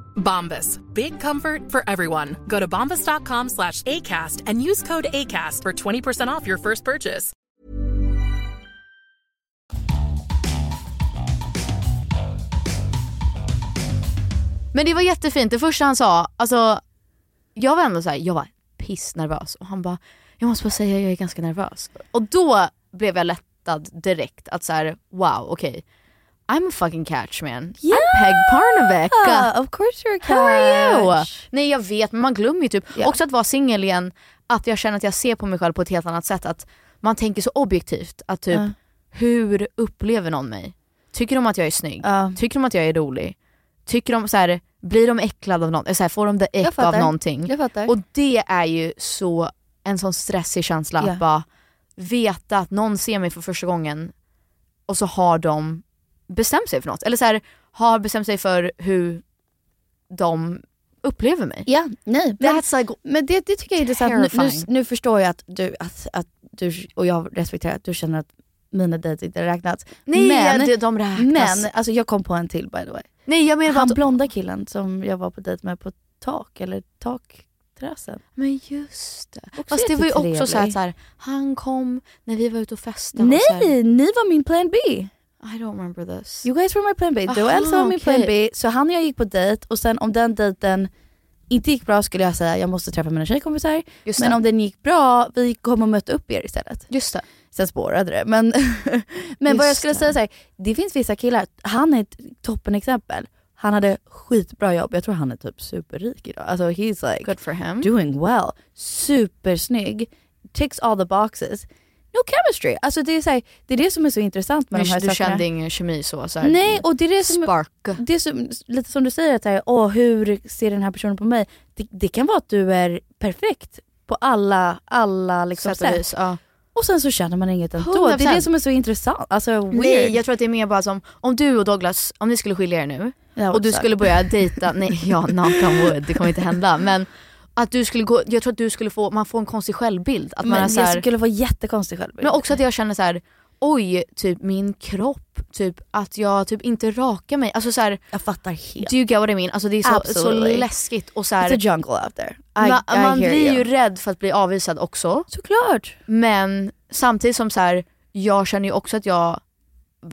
S9: Bombas. Big comfort for everyone. Go to bombas.com slash ACAST and use code ACAST for 20% off your first purchase.
S3: Men det var jättefint, det första han sa, alltså jag var ändå så här, jag var pissnervös och han bara, jag måste bara säga jag är ganska nervös. Och då blev jag lättad direkt att så här, wow okej, I'm a fucking catch man. I'm Peg Parnevecka.
S4: Of course you're a
S3: How are you?
S4: catch.
S3: Nej jag vet men man glömmer ju typ, också att vara singel igen, att jag känner att jag ser på mig själv på ett helt annat sätt. Att man tänker så objektivt, att typ
S4: Ja.
S3: hur upplever någon mig? Tycker de att jag är snygg?
S4: Ja.
S3: Tycker de att jag är rolig? Tycker de så här, blir de äcklade av någonting? Så här, får de det äck av någonting?
S4: Jag fattar.
S3: Och det är ju så en sån stressig känsla
S4: Ja.
S3: att bara veta att någon ser mig för första gången och så har de bestämt sig för något. Eller så här, har bestämt sig för hur de upplever mig.
S4: Ja, nej. Men,
S3: That's like
S4: men det, det tycker jag är intressant. Nu, nu,
S3: terrifying.
S4: nu förstår jag att du, att, att du, och jag respekterar att du känner att mina dejter inte räknas.
S3: Nej,
S4: men,
S3: det- de räknas.
S4: Men alltså, jag kom på en till by the way.
S3: Nej jag menar bara
S4: Han
S3: att...
S4: blonda killen som jag var på dejt med på tak, eller takterrassen.
S3: Men just det.
S4: Också
S3: Fast det var ju också
S4: jättetrevlig.
S3: så här, att så här, han kom när vi var ute och festade. Och så här,
S4: Nej, ni var min plan B.
S3: I don't remember this.
S4: You guys were my plan B. Du och
S3: Aha,
S4: Elsa var min plan
S3: okej.
S4: B. Så han och jag gick på dejt och sen om den dejten inte gick bra skulle jag säga jag måste träffa mina tjejkompisar.
S3: Just
S4: men
S3: det.
S4: om den gick bra, vi kom och mötte upp er istället.
S3: Just det.
S4: Sen spårade det. Men, men vad jag
S3: Just
S4: skulle
S3: det.
S4: säga så här, det finns vissa killar, han är ett toppenexempel. Han hade skitbra jobb, jag tror han är typ superrik idag. Alltså he's like
S3: Good for him.
S4: doing well, supersnygg, ticks all the boxes. No chemistry. Alltså det är, så här, det är det som är så intressant med
S3: Men
S4: de här
S3: du
S4: sakerna.
S3: kände ingen kemi så? så här,
S4: Nej, och det är det som,
S3: Spark.
S4: det är som, lite som du säger, att så här, åh, hur ser den här personen på mig? Det, det kan vara att du är perfekt på alla, alla liksom
S3: Sätt och
S4: sätt.
S3: vis. Ja.
S4: Och sen så känner man inget ändå.
S3: 100%.
S4: Det är det som är så intressant. Alltså weird.
S3: Nej, jag tror att det är mer bara som om du och Douglas, om ni skulle skilja er nu
S4: Det här var
S3: och du
S4: bizarrt.
S3: skulle börja dejta, nej ja knock on wood, det kommer inte hända men att du skulle gå, jag tror att du skulle få, man får en konstig självbild. Att man
S4: men
S3: är så
S4: jag
S3: här,
S4: skulle vara jättekonstig själv.
S3: men också att jag känner så här. oj typ min kropp, typ att jag typ inte rakar mig. Alltså så här,
S4: jag fattar helt.
S3: do you get what I mean? Alltså det är så, så
S4: Absolutely.
S3: läskigt och så
S4: It's a
S3: här,
S4: jungle out there. I,
S3: man,
S4: I
S3: man
S4: hear
S3: blir
S4: you.
S3: ju rädd för att bli avvisad också.
S4: Såklart.
S3: Men samtidigt som så här, jag känner ju också att jag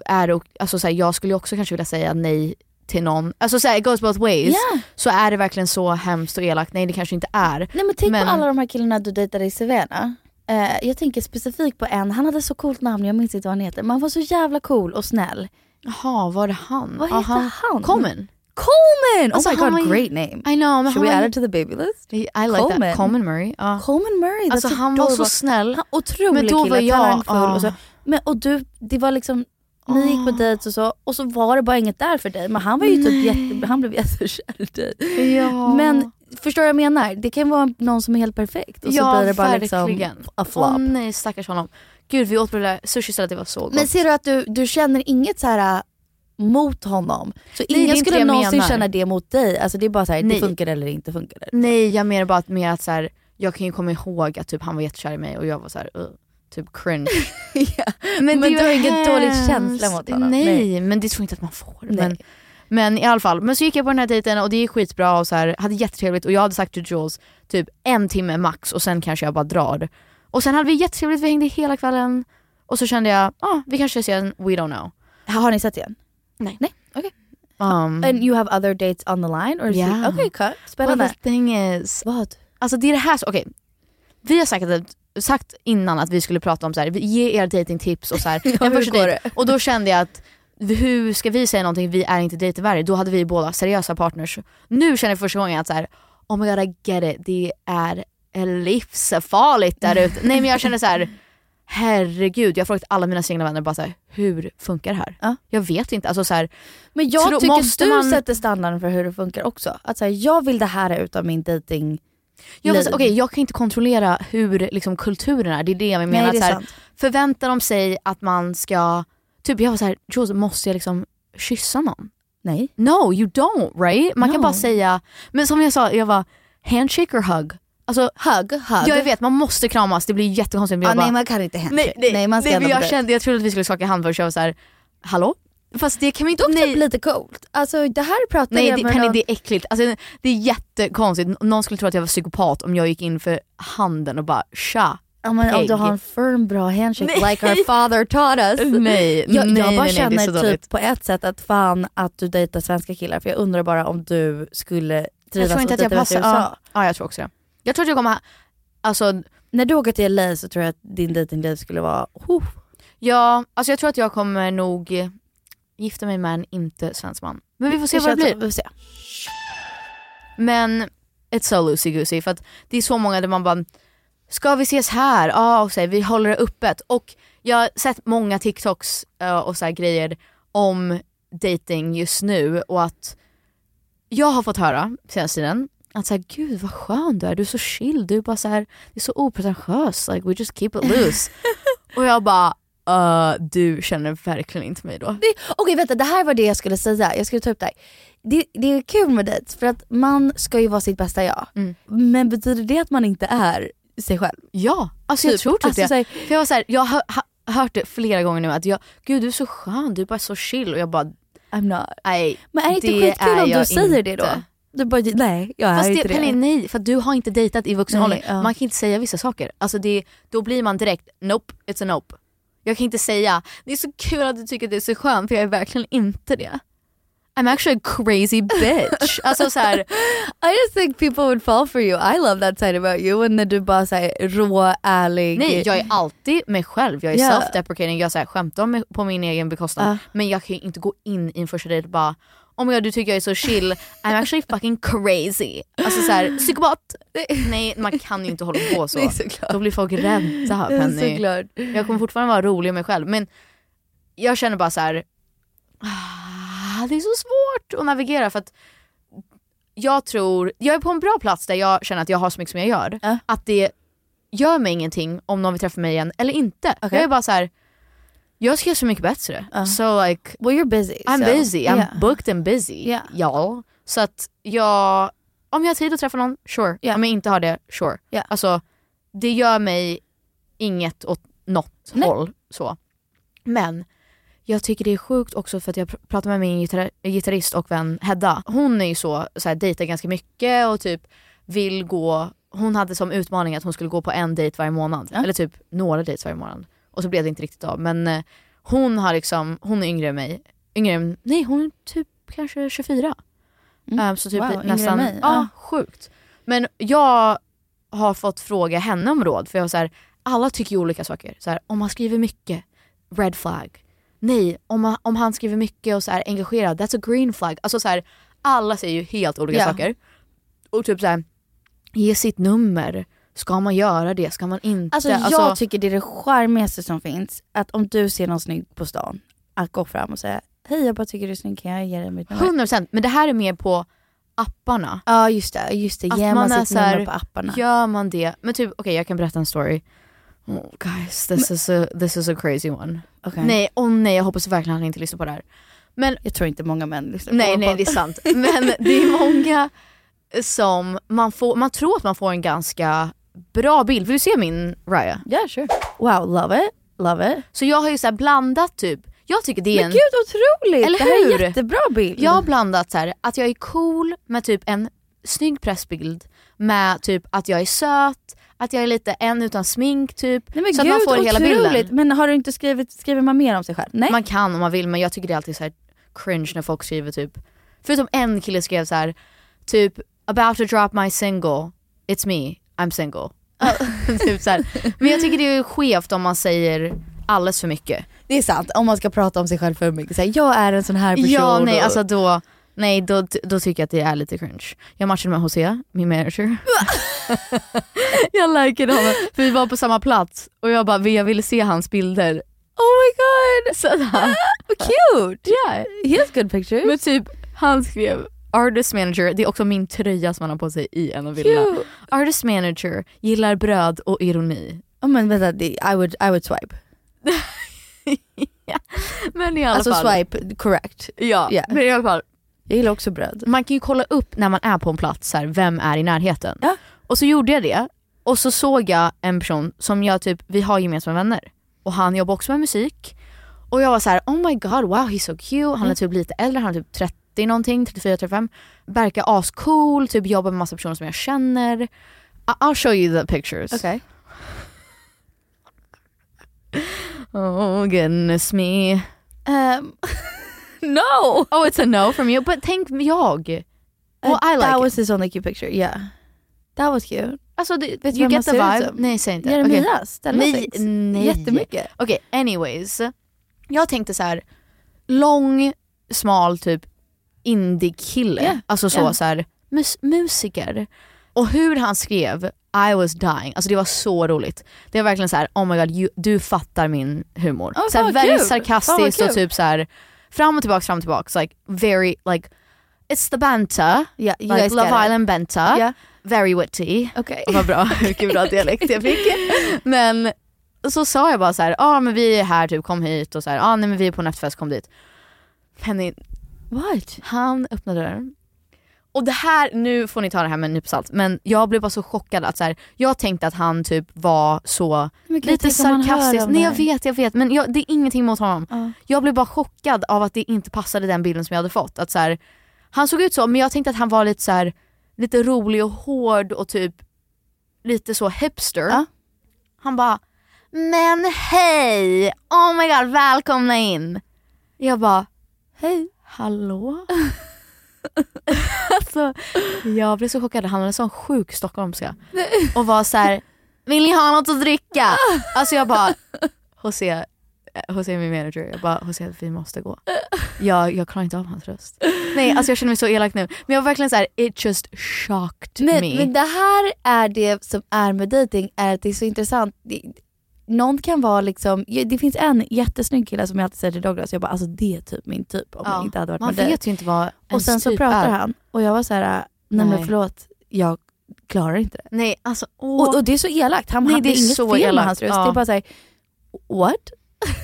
S3: är, och- alltså så här, jag skulle ju också kanske vilja säga nej till någon, alltså så här, it goes both ways.
S4: Yeah.
S3: Så är det verkligen så hemskt och elakt? Nej det kanske inte är.
S4: Nej men tänk
S3: Men-
S4: på alla de här killarna du dejtade i Sevena. Eh, jag tänker specifikt på en, han hade så coolt namn, jag minns inte vad han heter. Men han var så jävla cool och snäll.
S3: Jaha, var det han?
S4: Vad heter
S3: Aha.
S4: han?
S3: Common?
S4: Coleman!
S3: Alltså,
S4: oh my god,
S3: han-
S4: great name.
S3: I know, men
S4: Should we
S3: han-
S4: add it to the baby list?
S3: I like that. Coleman Murray. Ja.
S4: Coleman Murray,
S3: Alltså,
S4: that's
S3: han var så
S4: adorable.
S3: snäll.
S4: Han, otrolig
S3: Men då
S4: kille,
S3: var jag-
S4: talangfull. Och, så,
S3: ah.
S4: men, och du, det var liksom, ni gick på dejt och så, och så var det bara inget där för dig. Men han var ju typ jätte, han blev jättekär i dig.
S3: Ja.
S4: Men förstår du vad jag menar? Det kan vara någon som är helt perfekt och så
S3: ja,
S4: blir det bara
S3: verkligen.
S4: liksom a flop.
S3: Åh nej, stackars honom. Gud, vi åt på det där sushistället, det var så gott.
S4: Men ser du att du, du känner inget så här äh, mot honom? Så
S3: Nej, det är
S4: ingen
S3: inte det
S4: skulle
S3: jag
S4: någonsin
S3: menar.
S4: känna det mot dig? Alltså det är bara så här,
S3: Nej.
S4: det funkar eller typ. inte funkar. det.
S3: Nej, jag menar bara att, med att så här, jag kan ju komma ihåg att typ, han var jättekär i mig och jag var så här, "Ugh", typ cringe.
S4: Men
S3: det
S4: du
S3: var
S4: har ingen dålig
S3: hemskt.
S4: känsla mot honom?
S3: Nej,
S4: Nej.
S3: men det tror jag inte att man får.
S4: Nej.
S3: Men, men i alla fall, men så gick jag på den här dejten och det gick skitbra och så här, hade jättetrevligt och jag hade sagt till Jules typ en timme max och sen kanske jag bara drar. Och sen hade vi jättetrevligt, vi hängde hela kvällen och så kände jag, ah, vi kanske ses igen, we don't know.
S4: Har ni sett igen?
S3: Nej.
S4: Nej, okej.
S3: Um,
S4: And you have other dates on the line? Or is
S3: Ja.
S4: it- Okej, okay, spännande.
S3: Well, the thing is,
S4: Vad?
S3: Alltså det är det här, som- okej. Vi har sagt, att, sagt innan att vi skulle prata om så här, vi- ge er datingtips och så här, en
S4: hur
S3: första
S4: går
S3: dejt.
S4: det?
S3: Och då kände jag att vi- hur ska vi säga någonting, vi är inte dejtervärdiga. Då hade vi båda seriösa partners. Nu känner jag för första gången att så här, oh my god I get it, det är livsfarligt där ute. Nej men jag känner så här. Herregud, jag har frågat alla mina singla vänner bara så här, hur funkar det här? Jag vet inte. Alltså så här,
S4: Men jag
S3: tro-
S4: tycker
S3: måste
S4: du
S3: man-
S4: sätter standarden för hur det funkar också. Att så här, jag vill det här ut av min dating
S3: Jag,
S4: liv.
S3: fast, okej, jag kan inte kontrollera hur liksom, kulturen är, det är det jag menar.
S4: Nej, det är
S3: så här,
S4: sant.
S3: förväntar de sig att man ska, typ jag var såhär, Jules måste jag liksom kyssa någon?
S4: Nej.
S3: No you don't right? Man kan
S4: No.
S3: bara säga, men som jag sa, jag var handshake or hug? Alltså,
S4: hug, hug.
S3: Ja jag vet, man måste kramas, det blir jättekonstigt.
S4: Ah,
S3: Jag bara-
S4: nej man kan inte handshake. Nej, man ska
S3: nej, men
S4: ändå på
S3: jag,
S4: dejt.
S3: kände, jag trodde att vi skulle skaka hand först, jag var såhär, hallå? Fast det kan vi inte...
S4: Dock
S3: nej.
S4: typ lite coolt. Alltså det här pratade
S3: Nej
S4: jag
S3: det,
S4: med
S3: Penny,
S4: någon-
S3: det är äckligt. Alltså, det är jättekonstigt. N- Någon skulle tro att jag var psykopat om jag gick in för handen och bara tja,
S4: Ja, men om
S3: pigg.
S4: du har en firm bra handshake
S3: Nej.
S4: like our father taught us.
S3: Nej,
S4: jag,
S3: nej,
S4: jag
S3: nej,
S4: bara
S3: nej, det är
S4: känner
S3: så dåligt.
S4: typ på ett sätt att fan att du dejtar svenska killar för jag undrar bara om du skulle
S3: Jag
S4: trivas
S3: tror inte att jag
S4: dejta
S3: passar.
S4: i USA.
S3: Ja. ja jag tror också det. Jag tror att jag kommer, ha- alltså
S4: När du åker till LA så tror jag att din dejtingliv skulle vara oh,
S3: ja, alltså jag tror att jag kommer nog gifta mig med en inte svensk man. Men vi får se
S4: Det
S3: vad det
S4: känns så.
S3: blir.
S4: Vi får se.
S3: Men it's so loosey goosey för att det är så många där man bara, ska vi ses här? Ja, och så här, vi håller det öppet. Och jag har sett många TikToks eh, och så här grejer om dating just nu och att jag har fått höra senaste tiden att så här, gud vad skön du är, du är så chill, du är bara så här, det är så opretentiös, like we just keep it loose. och jag bara, "Eh, du känner verkligen inte mig då.
S4: Det- Okej vänta, det här var det jag skulle säga. Jag skulle ta upp det här. Det, det är kul med dates för att man ska ju vara sitt bästa jag. Men betyder det att man inte är sig själv?
S3: Ja, alltså jag
S4: Typ,
S3: tror typ
S4: alltså
S3: det.
S4: så här-
S3: För jag, var så här, jag har har hört det flera gånger nu att jag, gud du är så skön, du är bara så chill och jag bara
S4: I'm not.
S3: nej.
S4: Men är det inte skitkul om du säger det då? Du bara, nej jag
S3: Fast
S4: är
S3: det,
S4: inte
S3: Penny,
S4: det.
S3: nej, för du har inte dejtat i vuxen
S4: Nej,
S3: ålder.
S4: ja.
S3: Man kan inte säga vissa saker. Alltså det, då blir man direkt nope, it's a nope. Jag kan inte säga det är så kul att du tycker att det är så skönt för jag är verkligen inte det. I'm actually a crazy bitch. alltså så här,
S4: I just think people would fall for you. I love that side about you. Och när du bara säger rå, ärlig.
S3: Nej jag är alltid mig själv, jag är
S4: mm. Ja.
S3: self-deprecating, jag så här, skämtar om mig på min egen bekostnad.
S4: Ja.
S3: Men jag kan ju inte gå in i en första dejt och bara Oh my god du tycker jag är så chill, I'm actually fucking crazy. Alltså såhär, psykopat! Nej man kan ju inte hålla på så.
S4: Nej, såklart.
S3: Då blir folk rädda
S4: Ja,
S3: Penny.
S4: såklart.
S3: Jag kommer fortfarande vara rolig med mig själv men jag känner bara så här. Ah, det är så svårt att navigera för att jag tror, jag är på en bra plats där jag känner att jag har så mycket som jag gör. Att det gör mig ingenting om någon vill träffa mig igen eller inte. Jag är bara så här. jag ska göra så mycket bättre. So like,
S4: Well you're busy.
S3: I'm
S4: so-
S3: busy, I'm
S4: yeah.
S3: booked and busy
S4: Yeah.
S3: y'all. Så att jag, om jag har tid att träffa någon, sure.
S4: Yeah.
S3: Om jag inte har det, sure.
S4: Yeah.
S3: Alltså det gör mig inget åt något
S4: Nej.
S3: håll. Så. Men jag tycker det är sjukt också för att jag pr- pratar med min gitarr- gitarrist och vän Hedda. Hon är ju så, så här, dejtar ganska mycket och typ vill gå, hon hade som utmaning att hon skulle gå på en dejt varje månad. Eller typ några dejts varje månad. Och så blev det inte riktigt av. Men eh, hon har liksom, hon är yngre än mig. Yngre än, nej hon är typ kanske 24. Eh, så typ
S4: Mm. Wow, yngre än
S3: nästan,
S4: mig.
S3: ja
S4: Ja.
S3: sjukt. Men jag har fått fråga henne om råd för jag var så här, alla tycker ju olika saker. Så här, om han skriver mycket, red flag. Nej, om, han- om han skriver mycket och så här, engagerad, that's a green flag. Alltså så här, alla säger ju helt olika
S4: Ja.
S3: saker. Och typ såhär, ge sitt nummer. Ska man göra det? Ska man inte?
S4: Alltså, jag tycker det är det charmigaste som finns, att om du ser någon snygg på stan, att gå fram och säga hej jag bara tycker du är snygg, kan jag ge dig mitt nummer?
S3: 100% men det här är mer på apparna.
S4: Ja just det, just det.
S3: Att
S4: Ger man,
S3: man är
S4: sitt
S3: så här,
S4: nummer på apparna.
S3: Gör man det? Men typ, okej jag kan berätta en story. Oh guys, this, is, a, this is a crazy one.
S4: Okej.
S3: Nej, åh nej jag hoppas verkligen han inte lyssnar på det här. Men,
S4: jag tror inte många män lyssnar
S3: nej,
S4: på
S3: Nej,
S4: vår
S3: nej det är
S4: podd.
S3: sant. Men det är många som, man, får, man tror att man får en ganska bra bild. Vill du se min Raya?
S4: Yeah sure. Wow, love it, love it.
S3: Så jag har ju så här blandat typ, jag tycker det är
S4: Men
S3: en...
S4: gud otroligt,
S3: Eller
S4: det här är
S3: hur?
S4: en jättebra bild.
S3: Jag har blandat så här, att jag är cool med typ en snygg pressbild med typ att jag är söt, att jag är lite en utan smink typ.
S4: Nej, men
S3: så
S4: gud,
S3: att man får hela
S4: otroligt.
S3: bilden.
S4: Men har du inte skrivit, skriver man mer om sig själv? Nej.
S3: Man kan om man vill men jag tycker det är alltid så här cringe när folk skriver typ, förutom en kille skrev så här typ about to drop my single, it's me, I'm single. typ så här. Men jag tycker det är skevt om man säger alldeles för mycket.
S4: Det är sant, om man ska prata om sig själv för mycket. Så här, jag är en sån här person.
S3: Ja, nej
S4: och-
S3: alltså då, nej då, då tycker jag att det är lite cringe. Jag matchade med Jose, min manager. jag likade honom, för vi var på samma plats och jag bara, jag ville se hans bilder.
S4: Oh my god!
S3: Sådär.
S4: Vad cute!
S3: Yeah.
S4: He has good pictures.
S3: Men typ, han skrev Artist manager, det är också min tröja som han har på sig i en av bilderna.
S4: Cute.
S3: Artist manager, gillar bröd och ironi.
S4: Ja, men vänta, det, I, would, I would swipe.
S3: Men i alla
S4: Alltså
S3: fall.
S4: swipe correct.
S3: Ja,
S4: Yeah.
S3: men i alla fall.
S4: Jag gillar också bröd.
S3: Man kan ju kolla upp när man är på en plats, så här, vem är i närheten? Och så gjorde jag det och så såg jag en person som jag typ, vi har gemensamma vänner och han jobbar också med musik. Och jag var så här: oh my god wow he's so cute, han är typ lite äldre, han är typ 30 någonting, 34-35. Verkar ascool, typ jobbar med massa personer som jag känner. I- I'll show you the pictures.
S4: Okej.
S3: Oh goodness me.
S4: Um, no!
S3: Oh it's a no from you, but tänk jag. Well I like
S4: that
S3: it.
S4: was his only cute picture, yeah. That was cute.
S3: Alltså det,
S4: Vet du
S3: you
S4: vem han
S3: get the
S4: ser ut
S3: vibe.
S4: som?
S3: Nej säg inte.
S4: Jeremias, den har
S3: nej,
S4: sex.
S3: nej.
S4: Jättemycket.
S3: Okej anyways. Jag tänkte så här lång, smal typ indie-kille.
S4: Yeah,
S3: Alltså så,
S4: yeah.
S3: så här, mus- musiker. Och hur han skrev I was dying, alltså det var så roligt. Det var verkligen så här: oh my god you, du fattar min humor.
S4: Oh,
S3: så här,
S4: fan,
S3: väldigt
S4: kul.
S3: sarkastiskt
S4: Fan, vad
S3: och
S4: kul.
S3: typ så här fram och tillbaks, fram och tillbaks. Like very like It's the banter,
S4: Yeah, you
S3: like
S4: guys
S3: Love
S4: got it.
S3: Island banter,
S4: Yeah.
S3: very witty.
S4: Okej.
S3: Och Vad bra, vilken bra dialekt jag fick. Men så sa jag bara så här, ja ah, men vi är här typ, kom hit och så här, ja ah, nej men vi är på en efterfest, kom dit. Penny,
S4: What?
S3: han öppnade dörren. Och det här, nu får ni ta det här med en nypa salt, men jag blev bara så chockad att så här, jag tänkte att han typ var så
S4: Men gud,
S3: lite
S4: tänk om han hör
S3: sarkastisk.
S4: om
S3: Nej
S4: det
S3: jag
S4: här.
S3: vet, jag vet men jag, det är ingenting mot honom.
S4: Ja.
S3: Jag blev bara chockad av att det inte passade den bilden som jag hade fått. Att så här, han såg ut så men jag tänkte att han var lite så här, lite rolig och hård och typ lite så hipster.
S4: Ja.
S3: Han bara “men hej, oh my god välkomna in”. Jag bara
S4: Hej.
S3: Hallå? alltså, jag blev så chockad, han hade sån sjuk stockholmska. Och var så här: vill ni ha något att dricka? Alltså jag bara, Jose, eh, Jose är min manager, jag bara Jose vi måste gå. Jag, jag klarar inte av hans röst. Nej alltså jag känner mig så elak nu. Men jag var verkligen så här: it just shocked
S4: Men,
S3: me.
S4: men det här är det som är med dating är att det är så intressant. Det, någon kan vara liksom, det finns en jättesnygg kille som jag alltid säger till Douglas, jag bara alltså det är typ min typ om jag
S3: ja,
S4: inte hade varit
S3: man
S4: med dig.
S3: vet ju inte vad
S4: Och
S3: ens
S4: sen så
S3: typ
S4: pratar
S3: är.
S4: han och jag var så här, nej men
S3: Nej.
S4: förlåt, jag klarar inte det.
S3: Nej alltså åh.
S4: Och, och det är så elakt, han,
S3: Nej,
S4: han, det är, inget
S3: så
S4: fel med
S3: elakt,
S4: hans röst.
S3: ja.
S4: Det är bara såhär, what?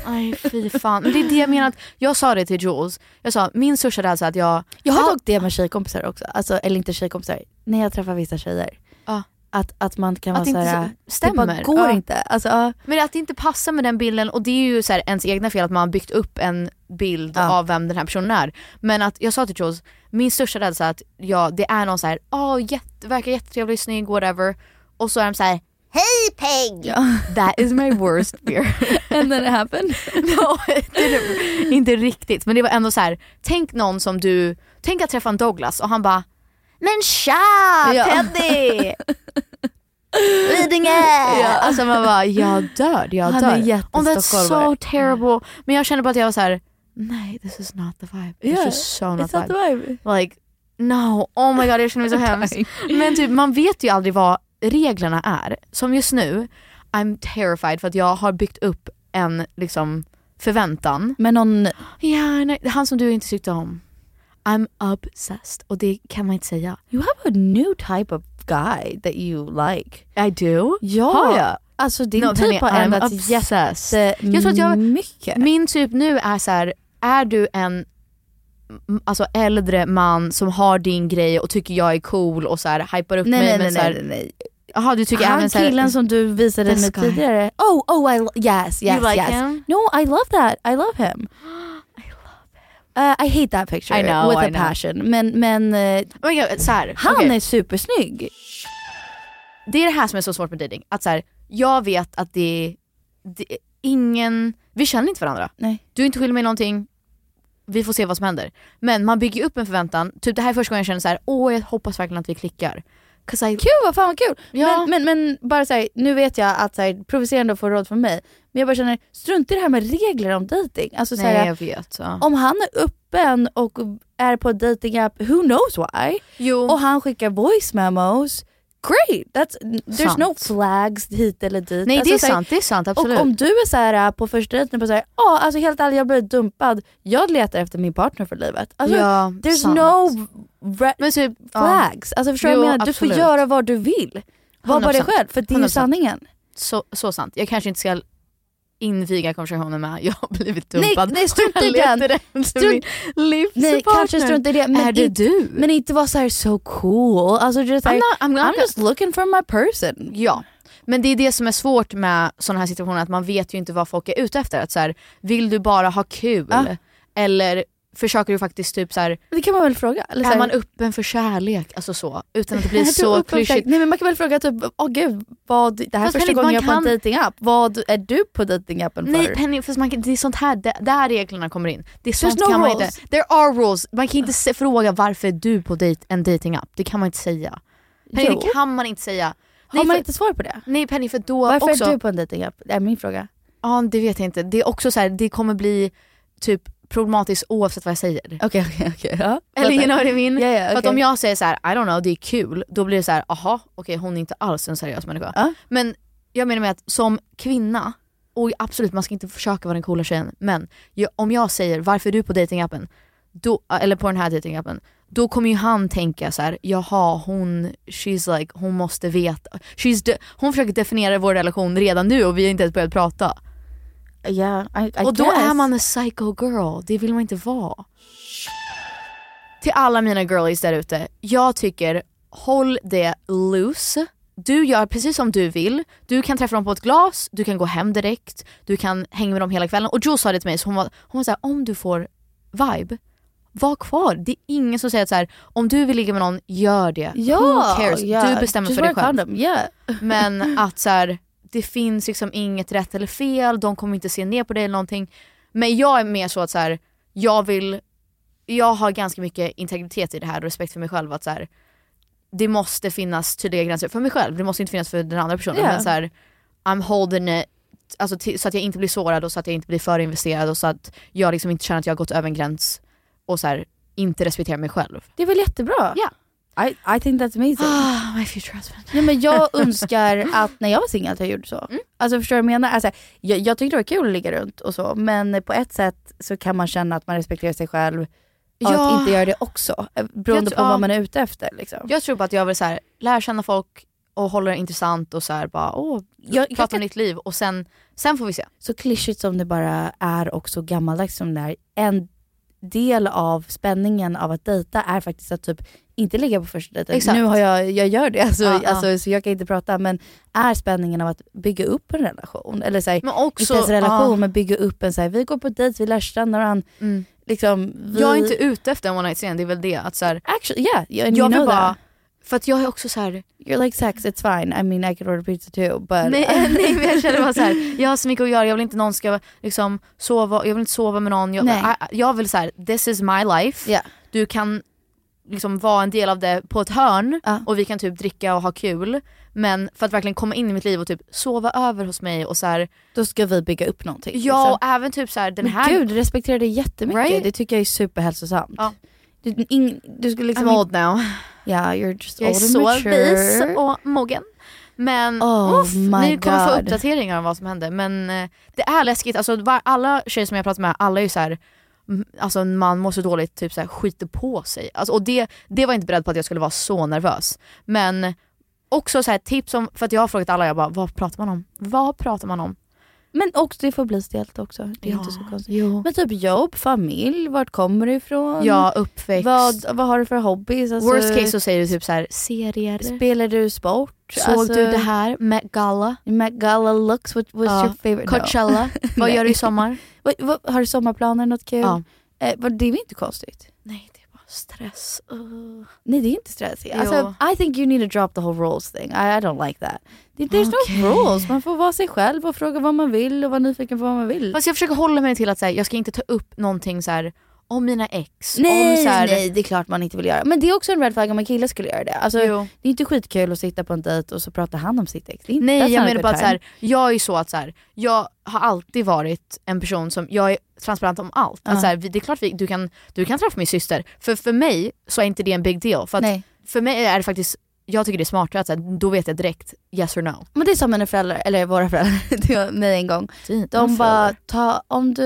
S3: Aj fy fan. Men det är det jag menar, att jag sa det till Jules, jag sa min syrsa är alltså att jag
S4: Jag har
S3: Ja.
S4: dock det med tjejkompisar också, alltså, eller inte tjejkompisar, när jag träffar vissa tjejer.
S3: Ja.
S4: Att, att man kan
S3: Att det
S4: vara
S3: inte
S4: såhär,
S3: så-
S4: det
S3: stämmer.
S4: bara går
S3: Ja.
S4: inte. Alltså, ja.
S3: Men att det inte passar med den bilden och det är ju så här ens egna fel att man har byggt upp en bild
S4: Ja.
S3: av vem den här personen är. Men att jag sa till Jules, min största rädsla är att ja, det är någon så här, "Ah, jätte, verkar jättetrevlig, snygg, whatever. Och så är de så här, hej Peg! That is my worst fear.
S4: And then it happened.
S3: no, det är inte riktigt men det var ändå så här. tänk någon som du, tänk att träffa en Douglas och han bara men tja
S4: Ja.
S3: Teddy! Lidingö! Alltså man bara, jag dör, jag
S4: Han
S3: dör.
S4: är
S3: oh, that's so
S4: jättestockholmare.
S3: terrible. Men jag kände bara att jag var så här: nej this is not the vibe. It's just so not
S4: It's not the
S3: vibe.
S4: vibe.
S3: Like No, oh my god jag känner mig så hemskt. Men typ man vet ju aldrig vad reglerna är. Som just nu, I'm terrified för att jag har byggt upp en liksom förväntan.
S4: Men någon
S3: Ja, nej, han som du inte tyckte om. I'm obsessed och det kan man inte säga.
S4: You have a new type of guy that you like.
S3: I do?
S4: Ja.
S3: Har jag?
S4: Alltså din
S3: No,
S4: typ
S3: hörni,
S4: har
S3: I'm
S4: ändrats
S3: obsessed. Jag tror att jag,
S4: mycket.
S3: Min typ nu är så här, är du en m- alltså äldre man som har din grej och tycker jag är cool och så här hypar upp
S4: Nej, nej,
S3: mig men
S4: nej,
S3: så här,
S4: nej, nej,
S3: Jaha du tycker
S4: Han
S3: även så här,
S4: killen som du visade
S3: This
S4: mig
S3: guy.
S4: tidigare. Oh, oh I lo- yes, yes,
S3: You like
S4: yes.
S3: him?
S4: No, I love that. I love him. I love him. I hate that picture
S3: I know,
S4: with
S3: I
S4: a
S3: know.
S4: passion. Men, men eh,
S3: Oh my God, så här,
S4: han
S3: okej.
S4: är supersnygg.
S3: det är det här som är så svårt med dating. Att så här, jag vet att det, det är ingen, vi känner inte varandra.
S4: Nej.
S3: Du är inte skyldig mig någonting, vi får se vad som händer. Men man bygger ju upp en förväntan, typ det här är första gången jag känner så här, åh jag hoppas verkligen att vi klickar. 'Cause I,
S4: Kul, vad fan vad kul.
S3: Ja.
S4: Men, men, men bara såhär, nu vet jag att såhär, provocerande att få råd från mig. Men jag bara känner, strunt i det här med regler om dating. Alltså,
S3: nej
S4: såhär,
S3: jag vet. Ja.
S4: Om han är öppen och är på datingapp, who knows why?
S3: Jo.
S4: Och han skickar voice memos, great! That's, there's
S3: Sant.
S4: no flags hit eller dit.
S3: nej det är
S4: Alltså, så här,
S3: sant, det är sant absolut.
S4: Och om du är så här äh, på första dejten på såhär, ja alltså helt ärligt jag blev dumpad, jag letar efter min partner för livet. Alltså,
S3: Ja,
S4: there's
S3: sant.
S4: no red
S3: Men typ, ja.
S4: flags. Alltså förstår du
S3: Jo,
S4: vad jag menar? Du får
S3: absolut.
S4: göra vad du vill. Var bara dig
S3: 100%.
S4: själv, för det är ju
S3: 100%.
S4: sanningen.
S3: Så, så sant. Jag kanske inte ska inviga konversationen med jag har blivit dumpad.
S4: nej, strunt i
S3: Jag
S4: den.
S3: letar efter
S4: Strunt-
S3: min livspartner.
S4: Nej, kanske strunt i det. Men
S3: Är det
S4: inte-
S3: du?
S4: Men inte vara såhär so cool. Alltså just
S3: I'm,
S4: like,
S3: not, I'm, not
S4: I'm just looking for my person.
S3: Ja, men det är det som är svårt med sådana här situationer, att man vet ju inte vad folk är ute efter. Att så här, vill du bara ha kul?
S4: Ja.
S3: Eller försöker du faktiskt typ så här,
S4: Det kan man väl fråga? Eller så
S3: är
S4: här-
S3: man öppen för kärlek? Alltså så, utan att det
S4: Är
S3: blir
S4: du
S3: så
S4: öppen för kärlek?
S3: klyschigt.
S4: Nej men man kan väl fråga typ, åh gud, vad, det här är
S3: Fast
S4: första
S3: Henrik,
S4: gången
S3: man
S4: jag är på en
S3: kan-
S4: dejtingapp. Vad är du på dejtingappen för?
S3: Nej Penny, fast man kan, det är sånt här, där, där reglerna kommer in. Det är sånt
S4: no
S3: kan man
S4: rules.
S3: inte. There are rules. Man kan inte se, fråga varför är du på dejt, en datingapp. Det kan man inte säga. Penny,
S4: Jo.
S3: det kan man inte säga.
S4: Har
S3: Nej,
S4: man
S3: för,
S4: inte svar på det?
S3: nej Penny, för då
S4: Varför
S3: också...
S4: är du på en dejtingapp? Det är min fråga.
S3: Ja, det vet jag inte. Det är också så här, det kommer bli typ problematiskt oavsett vad jag säger.
S4: Okej okej okej. Ja.
S3: Eller you know what I mean?
S4: Ja, ja,
S3: För att
S4: okej.
S3: om jag säger så här, I don't know, det är kul, då blir det så här, aha, okej hon är inte alls en seriös människa.
S4: Ja.
S3: Men jag menar med att som kvinna, och absolut man ska inte försöka vara den coola tjejen, men jag, om jag säger varför är du på datingappen? Då, eller på den här datingappen, då kommer ju han tänka så här, jaha hon, she's like, hon måste veta. She's de- hon försöker definiera vår relation redan nu och vi har inte ens börjat prata.
S4: Ja, I, I
S3: Och då
S4: guess.
S3: är man en psycho girl, det vill man inte vara. Till alla mina girlies där ute, jag tycker håll det loose. Du gör precis som du vill. Du kan träffa dem på ett glas, du kan gå hem direkt, du kan hänga med dem hela kvällen. Och Joe sa det till mig, så hon var, hon var såhär, om du får vibe, var kvar. Det är ingen som säger att så här, om du vill ligga med någon, gör det.
S4: Ja,
S3: Who cares?
S4: ja.
S3: Du bestämmer
S4: Just
S3: för dig
S4: wear a
S3: själv.
S4: condom, yeah.
S3: Men att så här, det finns liksom inget rätt eller fel, de kommer inte se ner på dig eller någonting. Men jag är mer så att så här, jag vill, jag har ganska mycket integritet i det här och respekt för mig själv att så här, det måste finnas tydliga gränser för mig själv, det måste inte finnas för den andra personen.
S4: Ja.
S3: Men så här, I'm holding it, alltså, till, så att jag inte blir sårad och så att jag inte blir förinvesterad och så att jag liksom inte känner att jag har gått över en gräns och så här, inte respekterar mig själv.
S4: Det är väl jättebra?
S3: Ja.
S4: I, I think that's amazing.
S3: Ah, my future husband.
S4: Nej, men jag önskar att när jag var singel att jag gjorde så. Alltså förstår du vad jag menar? Alltså, jag, jag tyckte det var kul att ligga runt och så, men på ett sätt så kan man känna att man respekterar sig själv och
S3: Ja.
S4: att inte göra det också. eh, Beroende
S3: Jag
S4: på
S3: tr- ja.
S4: vad man är ute efter. Liksom.
S3: Jag tror bara att jag vill så här, lära känna folk och hålla det intressant och så här, bara åh,
S4: Jag- jag
S3: prata
S4: kan-
S3: om ditt liv och sen, sen får vi se.
S4: Så klyschigt som det bara är och så gammaldags som det är, en del av spänningen av att dejta är faktiskt att typ inte ligga på första dejten.
S3: Exakt.
S4: Nu har jag, jag gör det, alltså,
S3: Ja, ja.
S4: alltså, så jag kan inte prata, men är spänningen av att bygga upp en relation? Eller så här,
S3: Men också,
S4: inte ens en relation
S3: ja.
S4: men bygga upp en så här, vi går på dejt, vi lär känna varandra.
S3: Mm.
S4: Liksom, vi...
S3: Jag är inte ute efter en one night stand, det är väl det att så här,
S4: Actually, yeah, you, and you
S3: jag vill
S4: know
S3: bara,
S4: that.
S3: för att jag är också så här,
S4: You're like sex, it's fine. I mean I could order pizza too but...
S3: nej, nej men jag känner bara så här, jag har så mycket att göra, jag vill inte någon ska liksom sova, jag vill inte sova med någon, jag,
S4: Nej.
S3: I- jag vill så här, this is my life,
S4: Ja.
S3: du kan liksom vara en del av det på ett hörn
S4: Ja.
S3: och vi kan typ dricka och ha kul. Men för att verkligen komma in i mitt liv och typ sova över hos mig och så här,
S4: Då ska vi bygga upp någonting.
S3: Ja
S4: liksom.
S3: och även typ så här, den
S4: Men
S3: här
S4: gud, respektera det jättemycket.
S3: Right?
S4: Det tycker jag är superhälsosamt.
S3: Ja.
S4: Du, in, du skulle liksom...
S3: I'm old
S4: now. Yeah, you're just
S3: Jag är
S4: old and
S3: så
S4: mature.
S3: vis och mogen. Men
S4: Oh
S3: uff,
S4: my
S3: ni kommer få
S4: God.
S3: uppdateringar om vad som hände. Men eh, det är läskigt. Alltså, var, alla tjejer som jag pratar med, alla är ju så här, mm, alltså man mår så dåligt, typ så här, skiter på sig. Alltså, och det, det var jag inte beredd på att jag skulle vara så nervös. Men också så här, tips om, för att jag har frågat alla, jag bara vad pratar man om? Vad pratar man om?
S4: Men också det får bli stelt också. Det är
S3: Ja,
S4: inte så konstigt. Men typ jobb, familj, vart kommer du ifrån?
S3: Ja, uppväxt.
S4: Vad, vad har du för hobbies? Alltså,
S3: Worst case så säger du typ så här, serier.
S4: Spelar du sport? Alltså-
S3: Såg du det här? Met Gala?
S4: Met Gala looks, what was
S3: Ja.
S4: your favorite?
S3: Coachella. Vad gör du i sommar?
S4: Vad- vad- har du sommarplaner, något kul?
S3: Ja.
S4: Eh, vad- det är väl inte konstigt?
S3: Nej det är bara stress. Uh.
S4: Nej det är inte stressigt. Alltså, I think you need to drop the whole rules thing. I, I don't like that. Det- There's no rules. Man får vara sig själv och fråga vad man vill och vara nyfiken på vad man vill.
S3: Fast jag försöker hålla mig till att så här, jag ska inte ta upp någonting så här, om mina ex.
S4: Nej,
S3: om så här,
S4: nej det är klart man inte vill göra. Men det är också en red flag om en kille skulle göra det. Alltså,
S3: Jo.
S4: det är inte skitkul att sitta på en dejt och så pratar han om sitt ex. Det är inte- that's
S3: Nej
S4: not a
S3: jag menar
S4: good
S3: bara att så
S4: time.
S3: här, jag är ju så att så här, jag har alltid varit en person som, jag är transparent om allt. Att
S4: Ja.
S3: så här, vi- det är klart vi, du, kan, du kan träffa min syster, för för mig så är inte det en big deal. För, att,
S4: Nej.
S3: för mig är det faktiskt, jag tycker det är smartare att så här, då vet jag direkt yes or no.
S4: Men det är som mina föräldrar, eller våra föräldrar, till mig en gång. De bara, ta, om du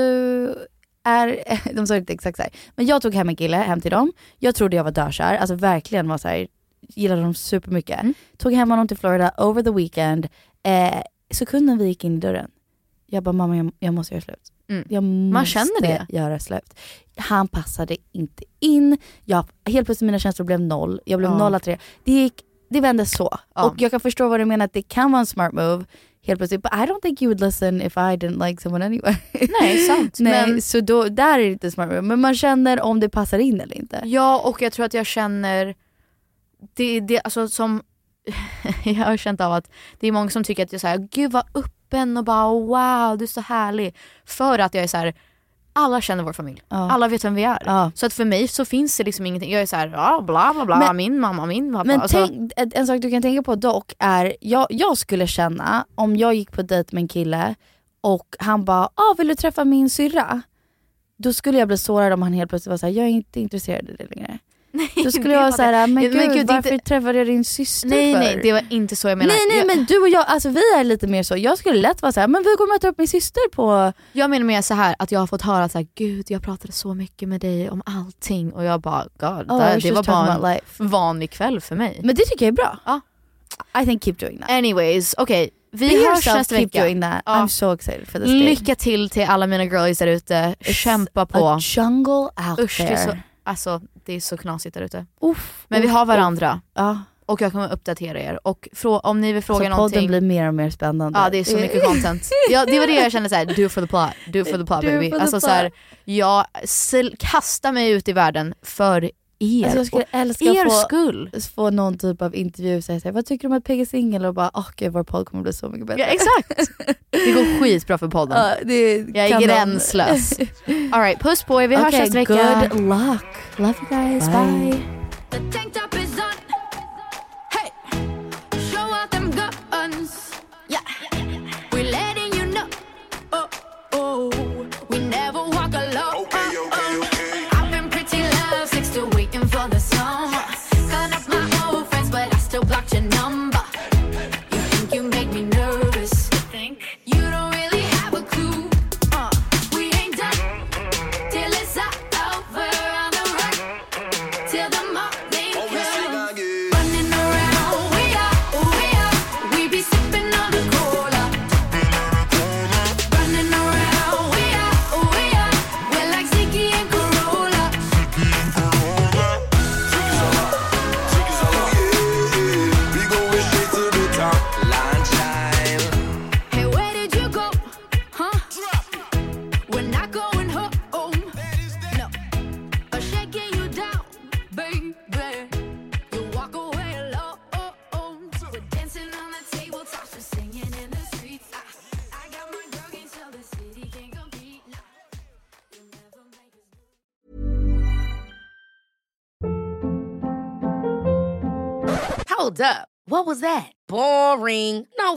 S4: är, de sa inte exakt så här. men jag tog hem en kille hem till dem. Jag trodde jag var dökär, alltså verkligen var så här, gillade dem supermycket.
S3: Mm.
S4: Tog hem honom till Florida over the weekend. Eh, sekunden vi gick in i dörren, jag bara mamma jag, jag måste göra slut.
S3: Mm.
S4: Jag måste
S3: Man känner det.
S4: göra slut. Han passade inte in, jag, helt plötsligt mina känslor blev noll, jag blev
S3: Ja.
S4: noll av tre. Det, gick, det vände så.
S3: Ja.
S4: Och jag kan förstå vad du menar att det kan vara en smart move helt plötsligt. But I don't think you would listen if I didn't like someone anyway.
S3: Nej sant.
S4: Nej,
S3: men,
S4: så då, där är det inte smart move. Men man känner om det passar in eller inte.
S3: Ja, och jag tror att jag känner, det, det, alltså, som, jag har känt av att det är många som tycker att jag är så här, gud vad öppen och bara wow du är så härlig. För att jag är så här, alla känner vår familj,
S4: Ja.
S3: alla vet vem vi är.
S4: Ja.
S3: Så att för mig så finns det liksom ingenting, jag är så här, ja bla bla bla,
S4: Men-
S3: min mamma, min pappa.
S4: Men
S3: alltså,
S4: tänk, en, en sak du kan tänka på dock är, jag, jag skulle känna om jag gick på dejt med en kille och han bara ah, “vill du träffa min syrra?” Då skulle jag bli sårad om han helt plötsligt var såhär “jag är inte intresserad av dig längre”. Då skulle
S3: det
S4: jag vara
S3: var
S4: såhär
S3: det.
S4: “men
S3: Men
S4: gud,
S3: gud, det är
S4: varför
S3: inte-
S4: träffade jag din syster
S3: nej
S4: för?”
S3: nej det var inte så jag menade.
S4: nej nej
S3: jag,
S4: men du och jag, alltså vi är lite mer så. Jag skulle lätt vara såhär “men vi går och möter upp min syster på...”
S3: jag menar mer så här att jag har fått höra så här, gud jag pratade så mycket med dig om allting och jag bara god,
S4: Oh, I
S3: det,
S4: was
S3: det
S4: just
S3: var
S4: talking
S3: bara
S4: about
S3: en vanlig kväll för mig.
S4: Men det tycker jag är bra.
S3: Ja.
S4: I think keep doing that.
S3: Anyways, okej. Vi
S4: Be
S3: hörs
S4: yourself,
S3: nästa
S4: keep
S3: vecka.
S4: doing that.
S3: Ja.
S4: I'm so excited for this day.
S3: Lycka till till alla mina girlies där ute. Kämpa på.
S4: A jungle out
S3: Usch, det
S4: there.
S3: är, så, alltså, det är så knasigt där ute.
S4: Uff,
S3: Men vi
S4: uff,
S3: har
S4: uff.
S3: varandra.
S4: Ja.
S3: Och jag kommer uppdatera er. Och frå- om ni vill fråga
S4: så podden
S3: någonting.
S4: blir mer och mer spännande. Eh,
S3: Ja det är så mycket content. Ja, det var det jag kände såhär, do for the plot, do for the plot
S4: Do
S3: baby.
S4: for the
S3: Alltså
S4: plot.
S3: såhär, jag sl- kastar mig ut i världen för er.
S4: Alltså, jag skulle
S3: och
S4: älska
S3: er
S4: att få-
S3: skull.
S4: Få någon typ av intervju och säga såhär, vad tycker du om att Peggy är singel? Och bara, åh gud vår podd kommer bli så mycket bättre.
S3: Ja, exakt. Det går skitbra för podden.
S4: Ja, det
S3: jag är
S4: kanon.
S3: gränslös. All right, puss på er, vi hörs
S4: Okej,
S3: nästa vecka.
S4: good luck. Love you guys,
S3: Bye.
S4: bye.
S7: The tank top is on. Hey, show out them guns. Yeah, we're letting you know. Oh, oh, we never walk alone. Okay, okay, okay. I've been pretty loud since the waiting for the summer. Cut up my old friends, but I still blocked your number. You think you make me nervous? Think you don't really have a clue. Uh, we ain't done till it's over on the run till the morning comes. Running around, we are, we are, we be sipping on the cola. Running around, we are, we are, we're like Ziggy and Corolla. Hey, where did you go? Huh? We're not going home. No, I'm shaking you down baby. You walk away alone. We're dancing on the tabletops, we're singing in the streets. I, I got my girl game till the city can't compete. Nah. You'll never make us.
S8: Hold up. What was that? Boring. No